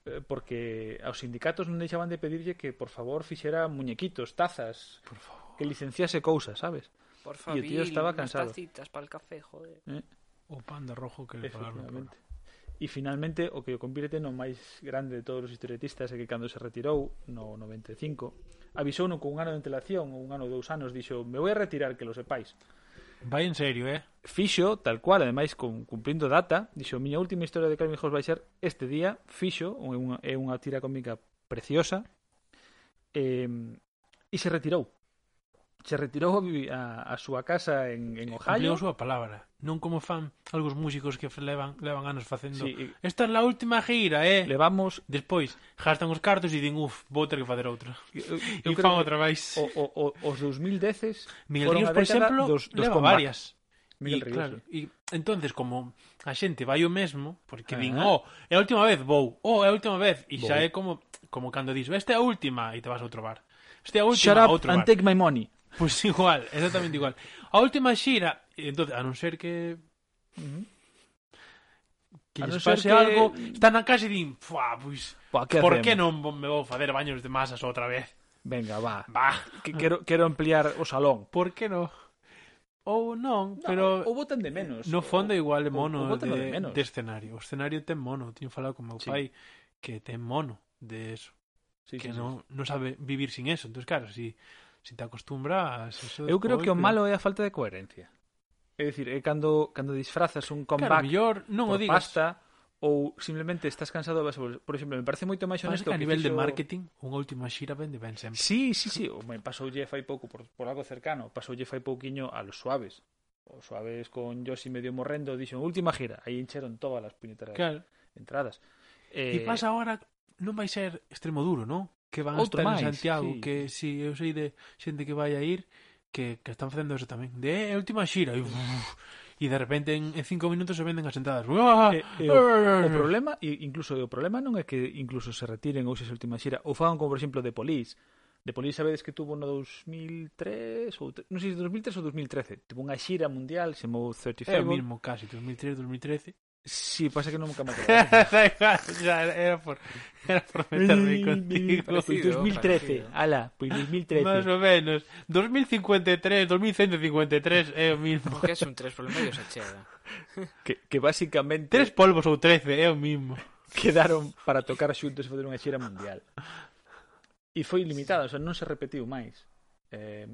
S4: eh, porque aos sindicatos non deixaban de pedirlle que por favor fixera muñequitos, tazas, por favor. que licenciase cousas, sabes?
S3: Por
S4: Y
S3: favor,
S4: el tío estaba cansado.
S3: citas para el café, joder.
S2: O panda rojo que le pagaron.
S4: Efectivamente. E finalmente o que o convirte no máis grande de todos os historietistas é que cando se retirou no 95 avisou non con un ano de antelación ou un ano ou dous anos dixo me voy a retirar que lo sepáis
S2: Vai en serio, eh?
S4: fixo tal cual, ademais cum- cumprindo data, dixo, miña última historia de Calvin Hobbes vai ser este día, fixo, é unha, é unha tira cómica preciosa, eh, e se retirou. Se retirou a, vi- a, a súa casa en, en
S2: Cumpliu
S4: Ohio.
S2: a súa palabra. Non como fan algúns músicos que levan, levan anos facendo...
S4: Sí, e
S2: Esta é a última gira, eh?
S4: levamos...
S2: Despois, gastan os cartos e din, uf, vou ter que facer outra.
S4: Eu,
S2: E fan
S4: eu creo que
S2: outra máis.
S4: o, o, o, os 2010
S2: Miguel
S4: foron
S2: Ríos,
S4: a
S2: por
S4: década
S2: exemplo,
S4: dos- dos
S2: leva
S4: comeback.
S2: varias.
S4: Miguel
S2: e,
S4: Ríos.
S2: claro, e entonces como a xente vai o mesmo, porque din, "Oh,
S4: Ah.
S2: é a última vez vou, oh, é a última vez", e xa
S4: Vou.
S2: é como como cando dis, "Oh, "Esta é a última" e te vas a outro bar. Esta é a última,
S4: Shut
S2: a
S4: up
S2: outro
S4: and
S2: bar.
S4: take my money.
S2: Pois igual, exactamente igual. A última xira, e entonces, a non ser que que
S4: A non
S2: lles
S4: ser
S2: pase
S4: que-
S2: algo, están na casa e din, "Fua, pois,
S4: Pua, que
S2: por
S4: hacemos?
S2: que non vo- me vou facer baños de masas outra vez?"
S4: Venga, va.
S2: Bah,
S4: Que, quero, quero ampliar o salón.
S2: por que non? Ou non,
S4: Pero,
S2: pero
S4: o botan de menos.
S2: No fondo igual é
S4: o-
S2: mono
S4: o bótalo
S2: de,
S4: de menos.
S2: de escenario. O escenario ten mono. Tiño falado con meu
S4: Sí.
S2: pai que ten mono de eso.
S4: Sí,
S2: que
S4: sí, sí.
S2: non, non sabe vivir sin eso. Entón, claro, si, si te acostumbras... Eso
S4: Eu creo
S2: despois,
S4: que o
S2: pero-
S4: malo é a falta de coherencia. É dicir, é cando, cando disfrazas un
S2: Claro,
S4: comeback
S2: mellor non o
S4: por
S2: digas.
S4: pasta ou simplemente estás cansado vas a volver. Por exemplo, me parece moito máis
S2: Pasa
S4: honesto
S2: que a
S4: que
S2: nivel de
S4: fixo-
S2: marketing, unha última xira vende ben sempre.
S4: Sí, sí, sí. O, me pasoulle fai pouco por, por algo cercano. Pasoulle fai pouquiño a los suaves. Os suaves con Yoshi medio morrendo dixen última gira. Aí encheron todas as puñeteras
S2: Claro.
S4: entradas.
S2: E
S4: Eh,
S2: pasa agora, non vai ser extremo duro, non? Que van a estar
S4: Outro máis,
S2: en Santiago,
S4: sí.
S2: que si eu sei de xente que vai a ir, que, que están facendo eso tamén. De "Eh, última xira. E, uff, e de repente en, en cinco minutos se venden as entradas. ¡Uah!
S4: Eh, eh, O problema, e incluso o problema non é que incluso se retiren ou se a última xira, ou fagan como por exemplo de Police. De Police sabedes que tuvo no 2003 ou tre- non sei se 2003 ou 2013, tuvo unha xira mundial, se chamou 30
S2: É o
S4: Fable.
S2: mismo casi, 2003, 2013.
S4: Si, sí, pasa que nunca me acordo.
S2: da igual, ya era por, era por meterme contigo.
S4: Pois 2013, ala, pois 2013.
S2: Más o menos. 2053, 2153 é o mismo.
S3: Porque es un 3 por el medio se chega.
S4: Que, que basicamente
S2: Tres polvos ou 13, é o mismo.
S4: quedaron para tocar xuntos e fazer unha xera mundial. E foi limitada, o sea, non se repetiu máis. Eh,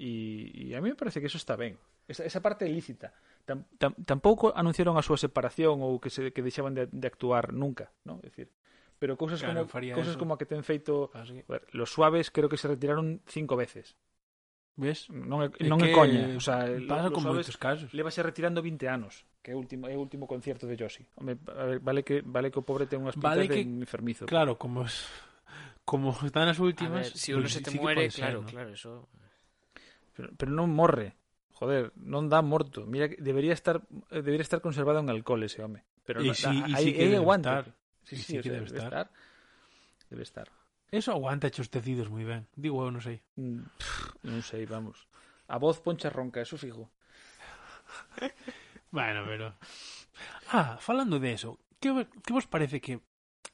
S4: e, e a mí me parece que eso está ben. Esa, esa parte é lícita. Tam, tam, tampouco anunciaron a súa separación ou que se que deixaban de, de actuar nunca, non? É dicir, pero cousas
S2: Claro,
S4: como
S2: faría
S4: cousas
S2: eso.
S4: como a que ten feito
S2: Así que,
S4: a ver, los suaves creo que se retiraron cinco veces.
S2: Ves?
S4: Non é,
S2: É
S4: non é
S2: que
S4: coña, o sea,
S3: eh,
S2: Pasa
S4: los
S2: con
S4: suaves
S2: moitos casos.
S4: levase retirando 20 anos, que é o último é o último concerto de Josi. Home, a ver, vale que vale que o pobre ten unhas pintas
S2: Vale
S4: vale que...
S2: que-
S4: de enfermizo.
S2: Claro, como es- como están as
S3: A
S2: últimas,
S3: ver, si uno
S2: pues
S3: se
S2: sí
S3: te
S2: que puede
S3: muere,
S2: ser,
S3: claro,
S2: ¿no?
S3: claro, eso.
S4: Pero, pero non morre. joder, non dá morto. Mira, que debería estar debería estar conservado en alcohol ese home. Pero
S2: Y
S4: no,
S2: sí- y
S4: aí-
S2: sí que
S4: aí
S2: debe
S4: aguanta.
S2: estar.
S4: Sí,
S2: Y
S4: sí,
S2: sí
S4: o
S2: que
S4: sea,
S2: debe
S4: debe
S2: estar.
S4: estar. Debe estar.
S2: Eso aguanta hechos tecidos muy bien. Digo, no sé.
S4: Mm, pff, Non sei, vamos. A voz poncha ronca, eso fijo.
S2: Bueno, pero... Ah, falando de eso, que, ve- que vos parece que...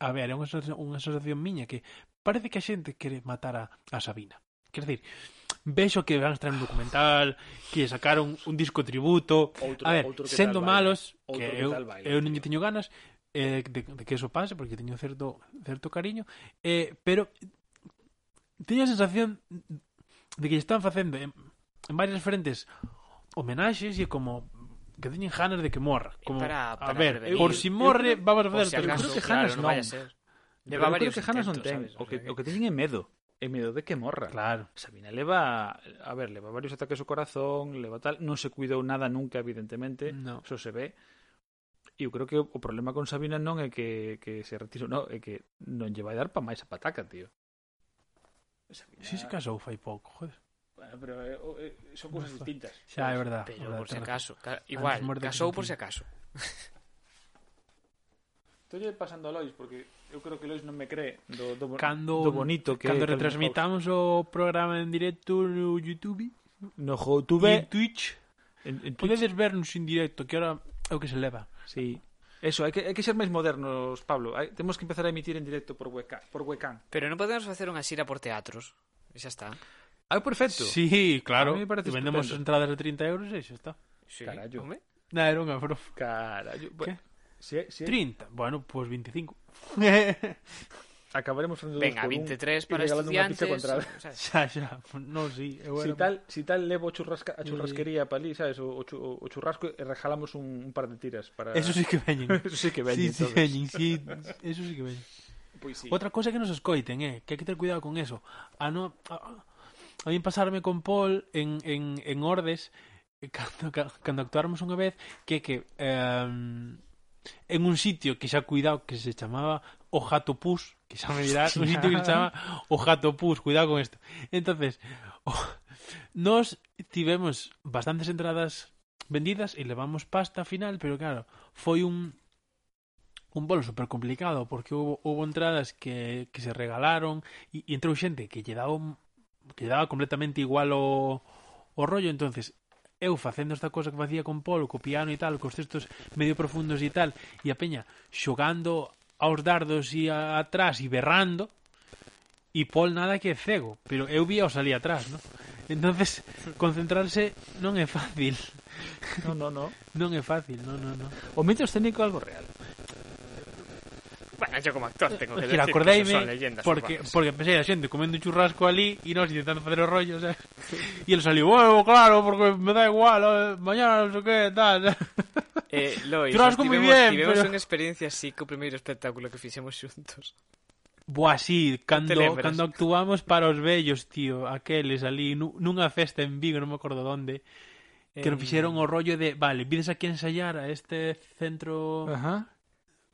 S2: A ver, é unha asocia- unha asociación miña que parece que a xente quere matar a, a Sabina. Quer dizer, vexo que van a traer un documental, que sacaron un disco tributo...
S4: Outro,
S2: A ver, sendo malos,
S4: Outro
S2: que
S4: que
S2: eu,
S4: tal baile,
S2: eu non lle
S4: tío.
S2: teño ganas eh, de, de que eso pase, porque teño certo certo cariño, eh, pero teño a sensación de que lle están facendo en, en varias frentes homenaxes e como que teñen ganas de que morra. Como,
S3: Eh, para-
S2: a
S3: para
S2: ver,
S3: prevenir.
S2: por si morre,
S4: Eu creo-
S2: vamos a
S3: Por
S2: facer
S3: si
S2: outra
S3: acaso,
S2: cousa.
S4: creo que
S3: claro,
S4: Hannes
S3: non
S4: non.
S3: vaya a ser.
S4: Pero
S3: Leva
S4: eu creo
S3: varios
S4: que Hanna non
S3: intentos,
S4: ten,
S3: sabes?
S4: o que, o que teñen é medo, é medo de que morra.
S2: Claro.
S4: Sabina leva, a ver, leva varios ataques ao corazón, leva tal, non se cuidou nada nunca, evidentemente,
S2: No.
S4: eso se ve. E eu creo que o problema con Sabina non é que, que se retiro, non, é que non lle vai dar pa máis a pataca, tío. Sabina,
S2: Si se casou fai pouco, joder.
S4: Bueno, pero eh, o- eh, son cousas distintas.
S2: Xa, é verdad. é
S3: Pero
S2: verdad,
S3: por si
S2: ten razón.
S3: acaso. ca- Igual,
S2: morde que
S3: casou
S2: sentín.
S3: por si acaso.
S4: Estou pasando a Lois, porque eu creo que Lois non me cree do, do, bo-
S2: Cando-
S4: do bonito que
S2: Cando
S4: é Calvin
S2: retransmitamos o programa en directo no YouTube,
S4: Hobbes.
S2: e en
S4: no Youtube,
S2: Twitch,
S4: en, en Twitch,
S2: Podedes vernos en directo, que ahora é o que se leva.
S4: sí. Eso, hai que, hai que ser máis modernos, Pablo. Hai, temos que empezar a emitir en directo por webcam. Por webcam.
S3: Pero non podemos facer unha xira por teatros. E Xa está.
S4: Ah, perfecto.
S2: Sí, claro.
S4: A mí me
S2: E
S4: parece
S2: vendemos
S4: estupendo.
S2: entradas de 30 euros e xa está.
S3: Sí,
S4: Carallo.
S3: home.
S2: Nah, era unha broma.
S4: Carallo. Bueno, si, si,
S2: 30. Bueno, pues pois 25.
S4: acabaremos facendo dos
S3: Venga,
S4: por un
S3: 23
S4: e
S3: para
S2: este
S4: regalando unha pizza
S3: estudiantes.
S4: contra-
S3: o sea,
S2: xa, xa. No, sí. Eu
S4: Si
S2: era...
S4: tal, si tal levo churrasca, a churrasquería para ali, sabes, o, o, chu- o churrasco e regalamos un, un par de tiras para
S2: Eso sí que veñen.
S4: Eso sí
S2: sí,
S4: que veñen
S2: sí,
S4: todos.
S2: veñen, sí, eso sí que veñen.
S4: Pois sí.
S2: Outra cosa é que nos escoiten, eh, que hai que ter cuidado con eso. A no a, a mí pasarme con Paul en, en, en Ordes eh, cando, ca- cando actuarmos unha vez que que eh, en un sitio que xa cuidado que se chamaba O Jato Pus, que xa me dirás, un sitio que se chama O Jato Pus, cuidado con isto. Entonces, o, nos tivemos bastantes entradas vendidas e levamos pasta final, pero claro, foi un un bolo super complicado porque hubo, hubo entradas que, que se regalaron y, y entrou xente que lle daba un- que lle daba completamente igual o, o rollo, entonces eu facendo esta cosa que facía con Polo, co piano e tal, cos textos medio profundos e tal, e a peña xogando aos dardos e a, atrás e berrando, e Paul nada que é cego, pero eu vía o salí atrás, ¿no? Entonces, concentrarse non é fácil,
S4: No, no, no.
S2: non é fácil, non, non, non.
S4: O mito escénico é algo real.
S3: Bueno, yo como actor tengo que
S2: Es que
S3: decir que eso son
S2: acordeime
S3: leyendas
S2: porque
S3: urbanas.
S2: porque pensei a xente comendo un churrasco ali e nós intentando facer o rollo, sabes? E el saliu, "Bueno, claro, porque me da igual, eh, mañana non sei que, tal."
S3: Eh, Lois,
S2: Churrasco moi bien,
S3: tivemos
S2: pero-
S3: unha experiencia así co primeiro espectáculo que fixemos xuntos.
S2: Boa, sí, cando,
S3: lembras?
S2: cando actuamos para os vellos, tío, aqueles ali nu- nunha festa en Vigo, non me acordo onde, que nos fixeron o rollo de, vale, vides aquí a ensayar a este centro,
S4: Ajá.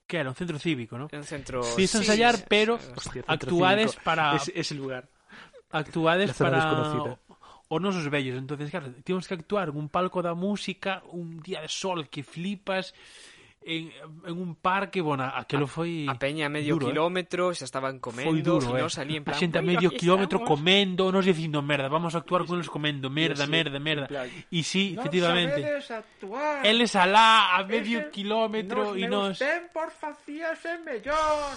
S2: que era un centro cívico, non?
S3: É un centro...
S2: Fides a ensayar,
S3: Ah. Oh, sí,
S2: pero
S4: Hostia,
S2: actuades
S4: centro
S2: para
S4: cívico. ese, ese lugar.
S2: actuades
S4: La zona
S2: para
S4: desconocida.
S2: os nosos vellos. Entonces, claro, temos que actuar en un palco da música, un día de sol que flipas, en, en un parque, bueno, aquelo foi...
S3: A peña a medio
S2: duro, eh.
S3: kilómetro, xa estaban comendo,
S2: foi duro,
S3: e
S2: eh.
S3: nós ali en plan...
S2: a xente a
S3: "Bueno,
S2: medio
S3: aquí
S2: kilómetro
S3: estamos".
S2: comendo, nos dicindo merda, vamos a actuar con eles comendo, merda,
S4: sí,
S2: merda, merda.
S4: en plan,
S2: E sí, efectivamente.
S8: actuar.
S2: Eles alá a medio kilómetro e nos
S8: por facíase mellor.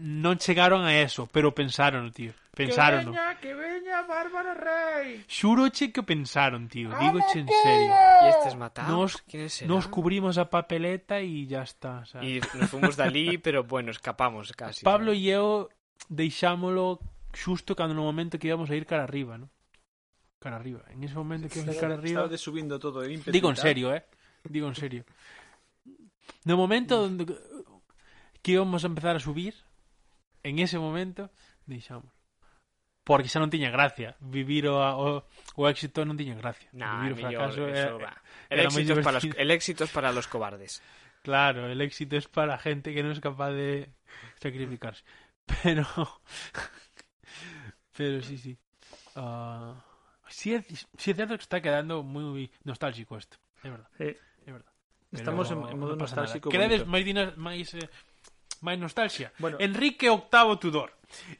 S2: non chegaron a eso, pero pensaron, tío. Pensaron.
S8: que veña Bárbara Rey.
S2: Xuroche que o pensaron, tío. Dígoche en serio.
S3: E estes matados,
S2: Nos-
S3: quines serán?
S2: Nos cubrimos a papeleta y ya está. o sea.
S3: E Ah. nos fomos dali, pero bueno, escapamos casi.
S2: Pablo e eu deixámolo xusto cando no momento que íbamos a ir cara arriba, ¿no? Cara arriba. En ese momento que íbamos a ir cara arriba...
S4: Estaba subindo todo de ímpetu.
S2: Digo en
S4: e tal.
S2: serio, eh. Digo en serio. No momento
S3: Mm.
S2: donde que íbamos a empezar a subir, en ese momento deixámoslo. Porque xa non tiña gracia. Vivir o, o, o éxito non tiña gracia.
S3: Nah,
S2: Vivir o
S3: mellor,
S2: fracaso
S3: eso
S2: é,
S3: va. El
S2: era moi
S3: éxito, es para los,
S2: divertido.
S3: el éxito es para los cobardes.
S2: Claro, el éxito es para gente que no es capaz de sacrificarse. Pero. Pero sí, sí. Ah, sí es, sí es cierto que está quedando muy nostálgico esto. Es verdad.
S4: Sí.
S2: Es verdad.
S4: Estamos en,
S2: Pero
S4: en modo
S2: no pasa nada.
S4: nostálgico.
S2: Credes
S4: bonito.
S2: máis, dinos- máis, eh, máis nostalgia.
S4: Bueno.
S2: Enrique VIII Tudor.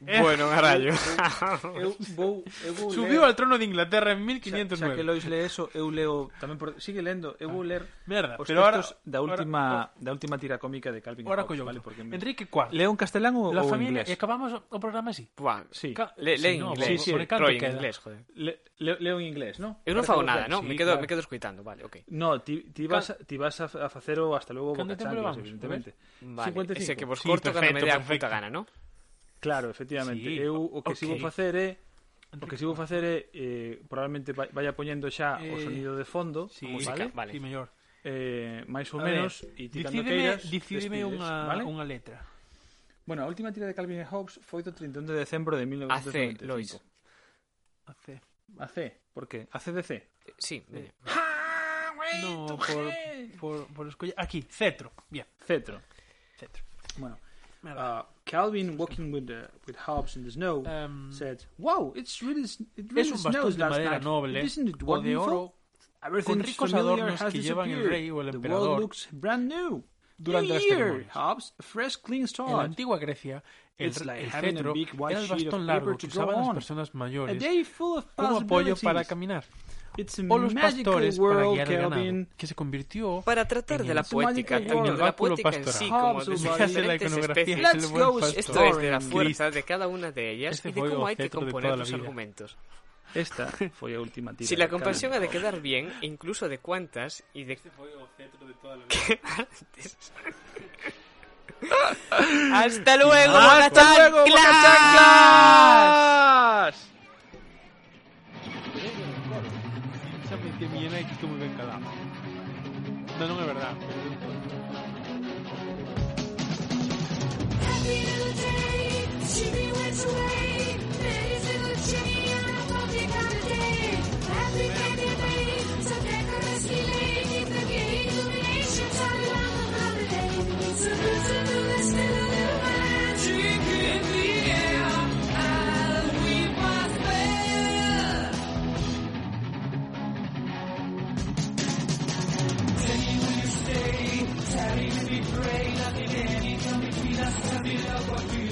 S2: Eh,
S3: Bueno, carallo.
S4: Eu vou, eu vou
S2: Subiu al
S4: ler-
S2: trono de Inglaterra en
S4: xa, xa
S2: 1509.
S4: que Lois lee eso, eu leo tamén por, sigue lendo, eu vou ler
S2: Merda,
S4: os
S2: Ah. pero ahora-
S4: textos da
S2: ahora-
S4: última da última tira cómica de Calvin
S2: Ahora
S4: Hobbes,
S2: collo.
S4: vale, porque me-
S2: Enrique IV.
S4: Leo en castelán ou,
S2: La
S4: ou en
S2: familia. E
S4: inglés?
S2: acabamos o programa así.
S3: Buah,
S4: Sí.
S2: Ca-
S3: le,
S2: Sí,
S3: lee en
S2: no,
S3: inglés.
S4: sí, sí,
S2: por canto
S3: Roy, en
S2: queda.
S3: inglés, joder.
S4: Le- leo, leo en inglés, non?
S3: Eu non
S4: Parece
S3: fago
S4: que
S3: nada,
S4: plan,
S3: ¿no?
S4: sí,
S3: me quedo,
S4: claro.
S3: me quedo escuitando, vale, ok.
S4: No, ti, ti vas, a- ti vas a, a facer o hasta logo
S2: Canto
S4: boca
S2: tempo
S4: chanclas,
S2: levamos?
S4: evidentemente.
S3: Vale,
S4: 55.
S3: ese que vos
S2: Sí,
S3: corto cando me dé a
S2: perfecto, pues
S3: puta
S2: perfecto.
S3: gana, ¿no?
S4: Claro, efectivamente.
S2: Sí,
S4: eu o que si vou
S2: ok.
S4: facer é o que si vou facer é eh, probablemente vai- vaya poñendo xa
S2: Eh,
S4: o sonido de fondo,
S2: Sí,
S3: música, vale.
S2: Sí, mellor.
S4: eh, máis
S2: A
S4: ou
S2: ver,
S4: menos e ti cando
S2: Decídeme,
S4: queiras
S2: decídeme
S4: despides,
S2: unha,
S4: vale?
S2: unha letra.
S4: Bueno, a última tira de Calvin e Hobbes foi do 31 de decembro de
S3: AC, Lois.
S4: 1995.
S2: A C.
S4: AC, por que? ACDC.
S3: Eh, Sí, veña.
S2: No, por, por, por escolla. Aquí, cetro. Bien,
S4: Cetro.
S2: cetro.
S4: Bueno,
S2: Merda.
S4: uh, Calvin walking with the, with Hobbes in the snow
S2: Em,
S4: said, "Wow, it's really sn- it
S2: es
S4: really
S2: un
S4: snows
S2: bastón de
S4: last
S2: madera
S4: night.
S2: noble
S4: Isn't it
S2: o de
S4: wonderful?
S2: oro
S4: Everything
S2: con ricos
S4: familiar
S2: adornos
S4: has
S2: que llevan el
S4: disappeared.
S2: rey o el
S4: The
S2: emperador
S4: world looks brand new.
S2: durante
S4: new
S2: las
S4: year,
S2: ceremonias.
S4: Hobbes, a fresh
S2: En
S4: clean
S2: la
S4: start.
S2: antigua Grecia, el,
S4: It's like
S2: el
S4: having a
S2: cetro
S4: big white
S2: era el
S4: sheet of
S2: bastón
S4: paper
S2: largo que
S4: to draw
S2: usaban las
S4: on.
S2: personas
S4: A
S2: mayores
S4: day full of
S2: como apoyo para
S4: possibilities.
S2: caminar,
S4: It's a
S2: o los
S4: magical
S2: pastores para
S4: world,
S2: guiar el ganado,
S4: Calvin.
S2: que se convirtió
S3: Para tratar
S2: En
S3: de
S2: el-
S3: la poética,
S4: Magical
S3: tanto
S4: World.
S3: de la
S2: Oráculo
S3: poética en
S2: pastoral.
S3: sí como
S4: Hobbes,
S3: de sus
S4: Hobbes,
S2: de Ah, la
S3: diferentes
S2: iconografía,
S3: especies,
S2: es el
S4: Let's
S2: buen
S4: go,
S2: pastor.
S3: esto es de la
S4: Story.
S3: fuerza de cada una de ellas
S2: Este
S3: y de
S2: fue
S3: cómo
S2: el
S3: hay que
S2: cetro de
S3: componer
S2: toda la
S3: los
S2: vida.
S3: argumentos.
S4: Esta foi a última tira.
S3: Si la
S4: de Calvin.
S3: compasión ha de quedar bien, e incluso de cuántas y de ¡Hasta luego,
S4: ¡Hasta luego, Bocachanclas!
S2: Xa me dicía mi nena que estou moi ben calado. Non, non é verdade.
S9: Shimmy went away, Mary's little chimney on a foggy cloudy day. Happy candy lane, so decorous he lay, the gay illuminations all around the holiday. So who's a little still a little magic in the air, and we must bear. Teddy, will you stay? Teddy, we pray, nothing any can between us, tell me love what we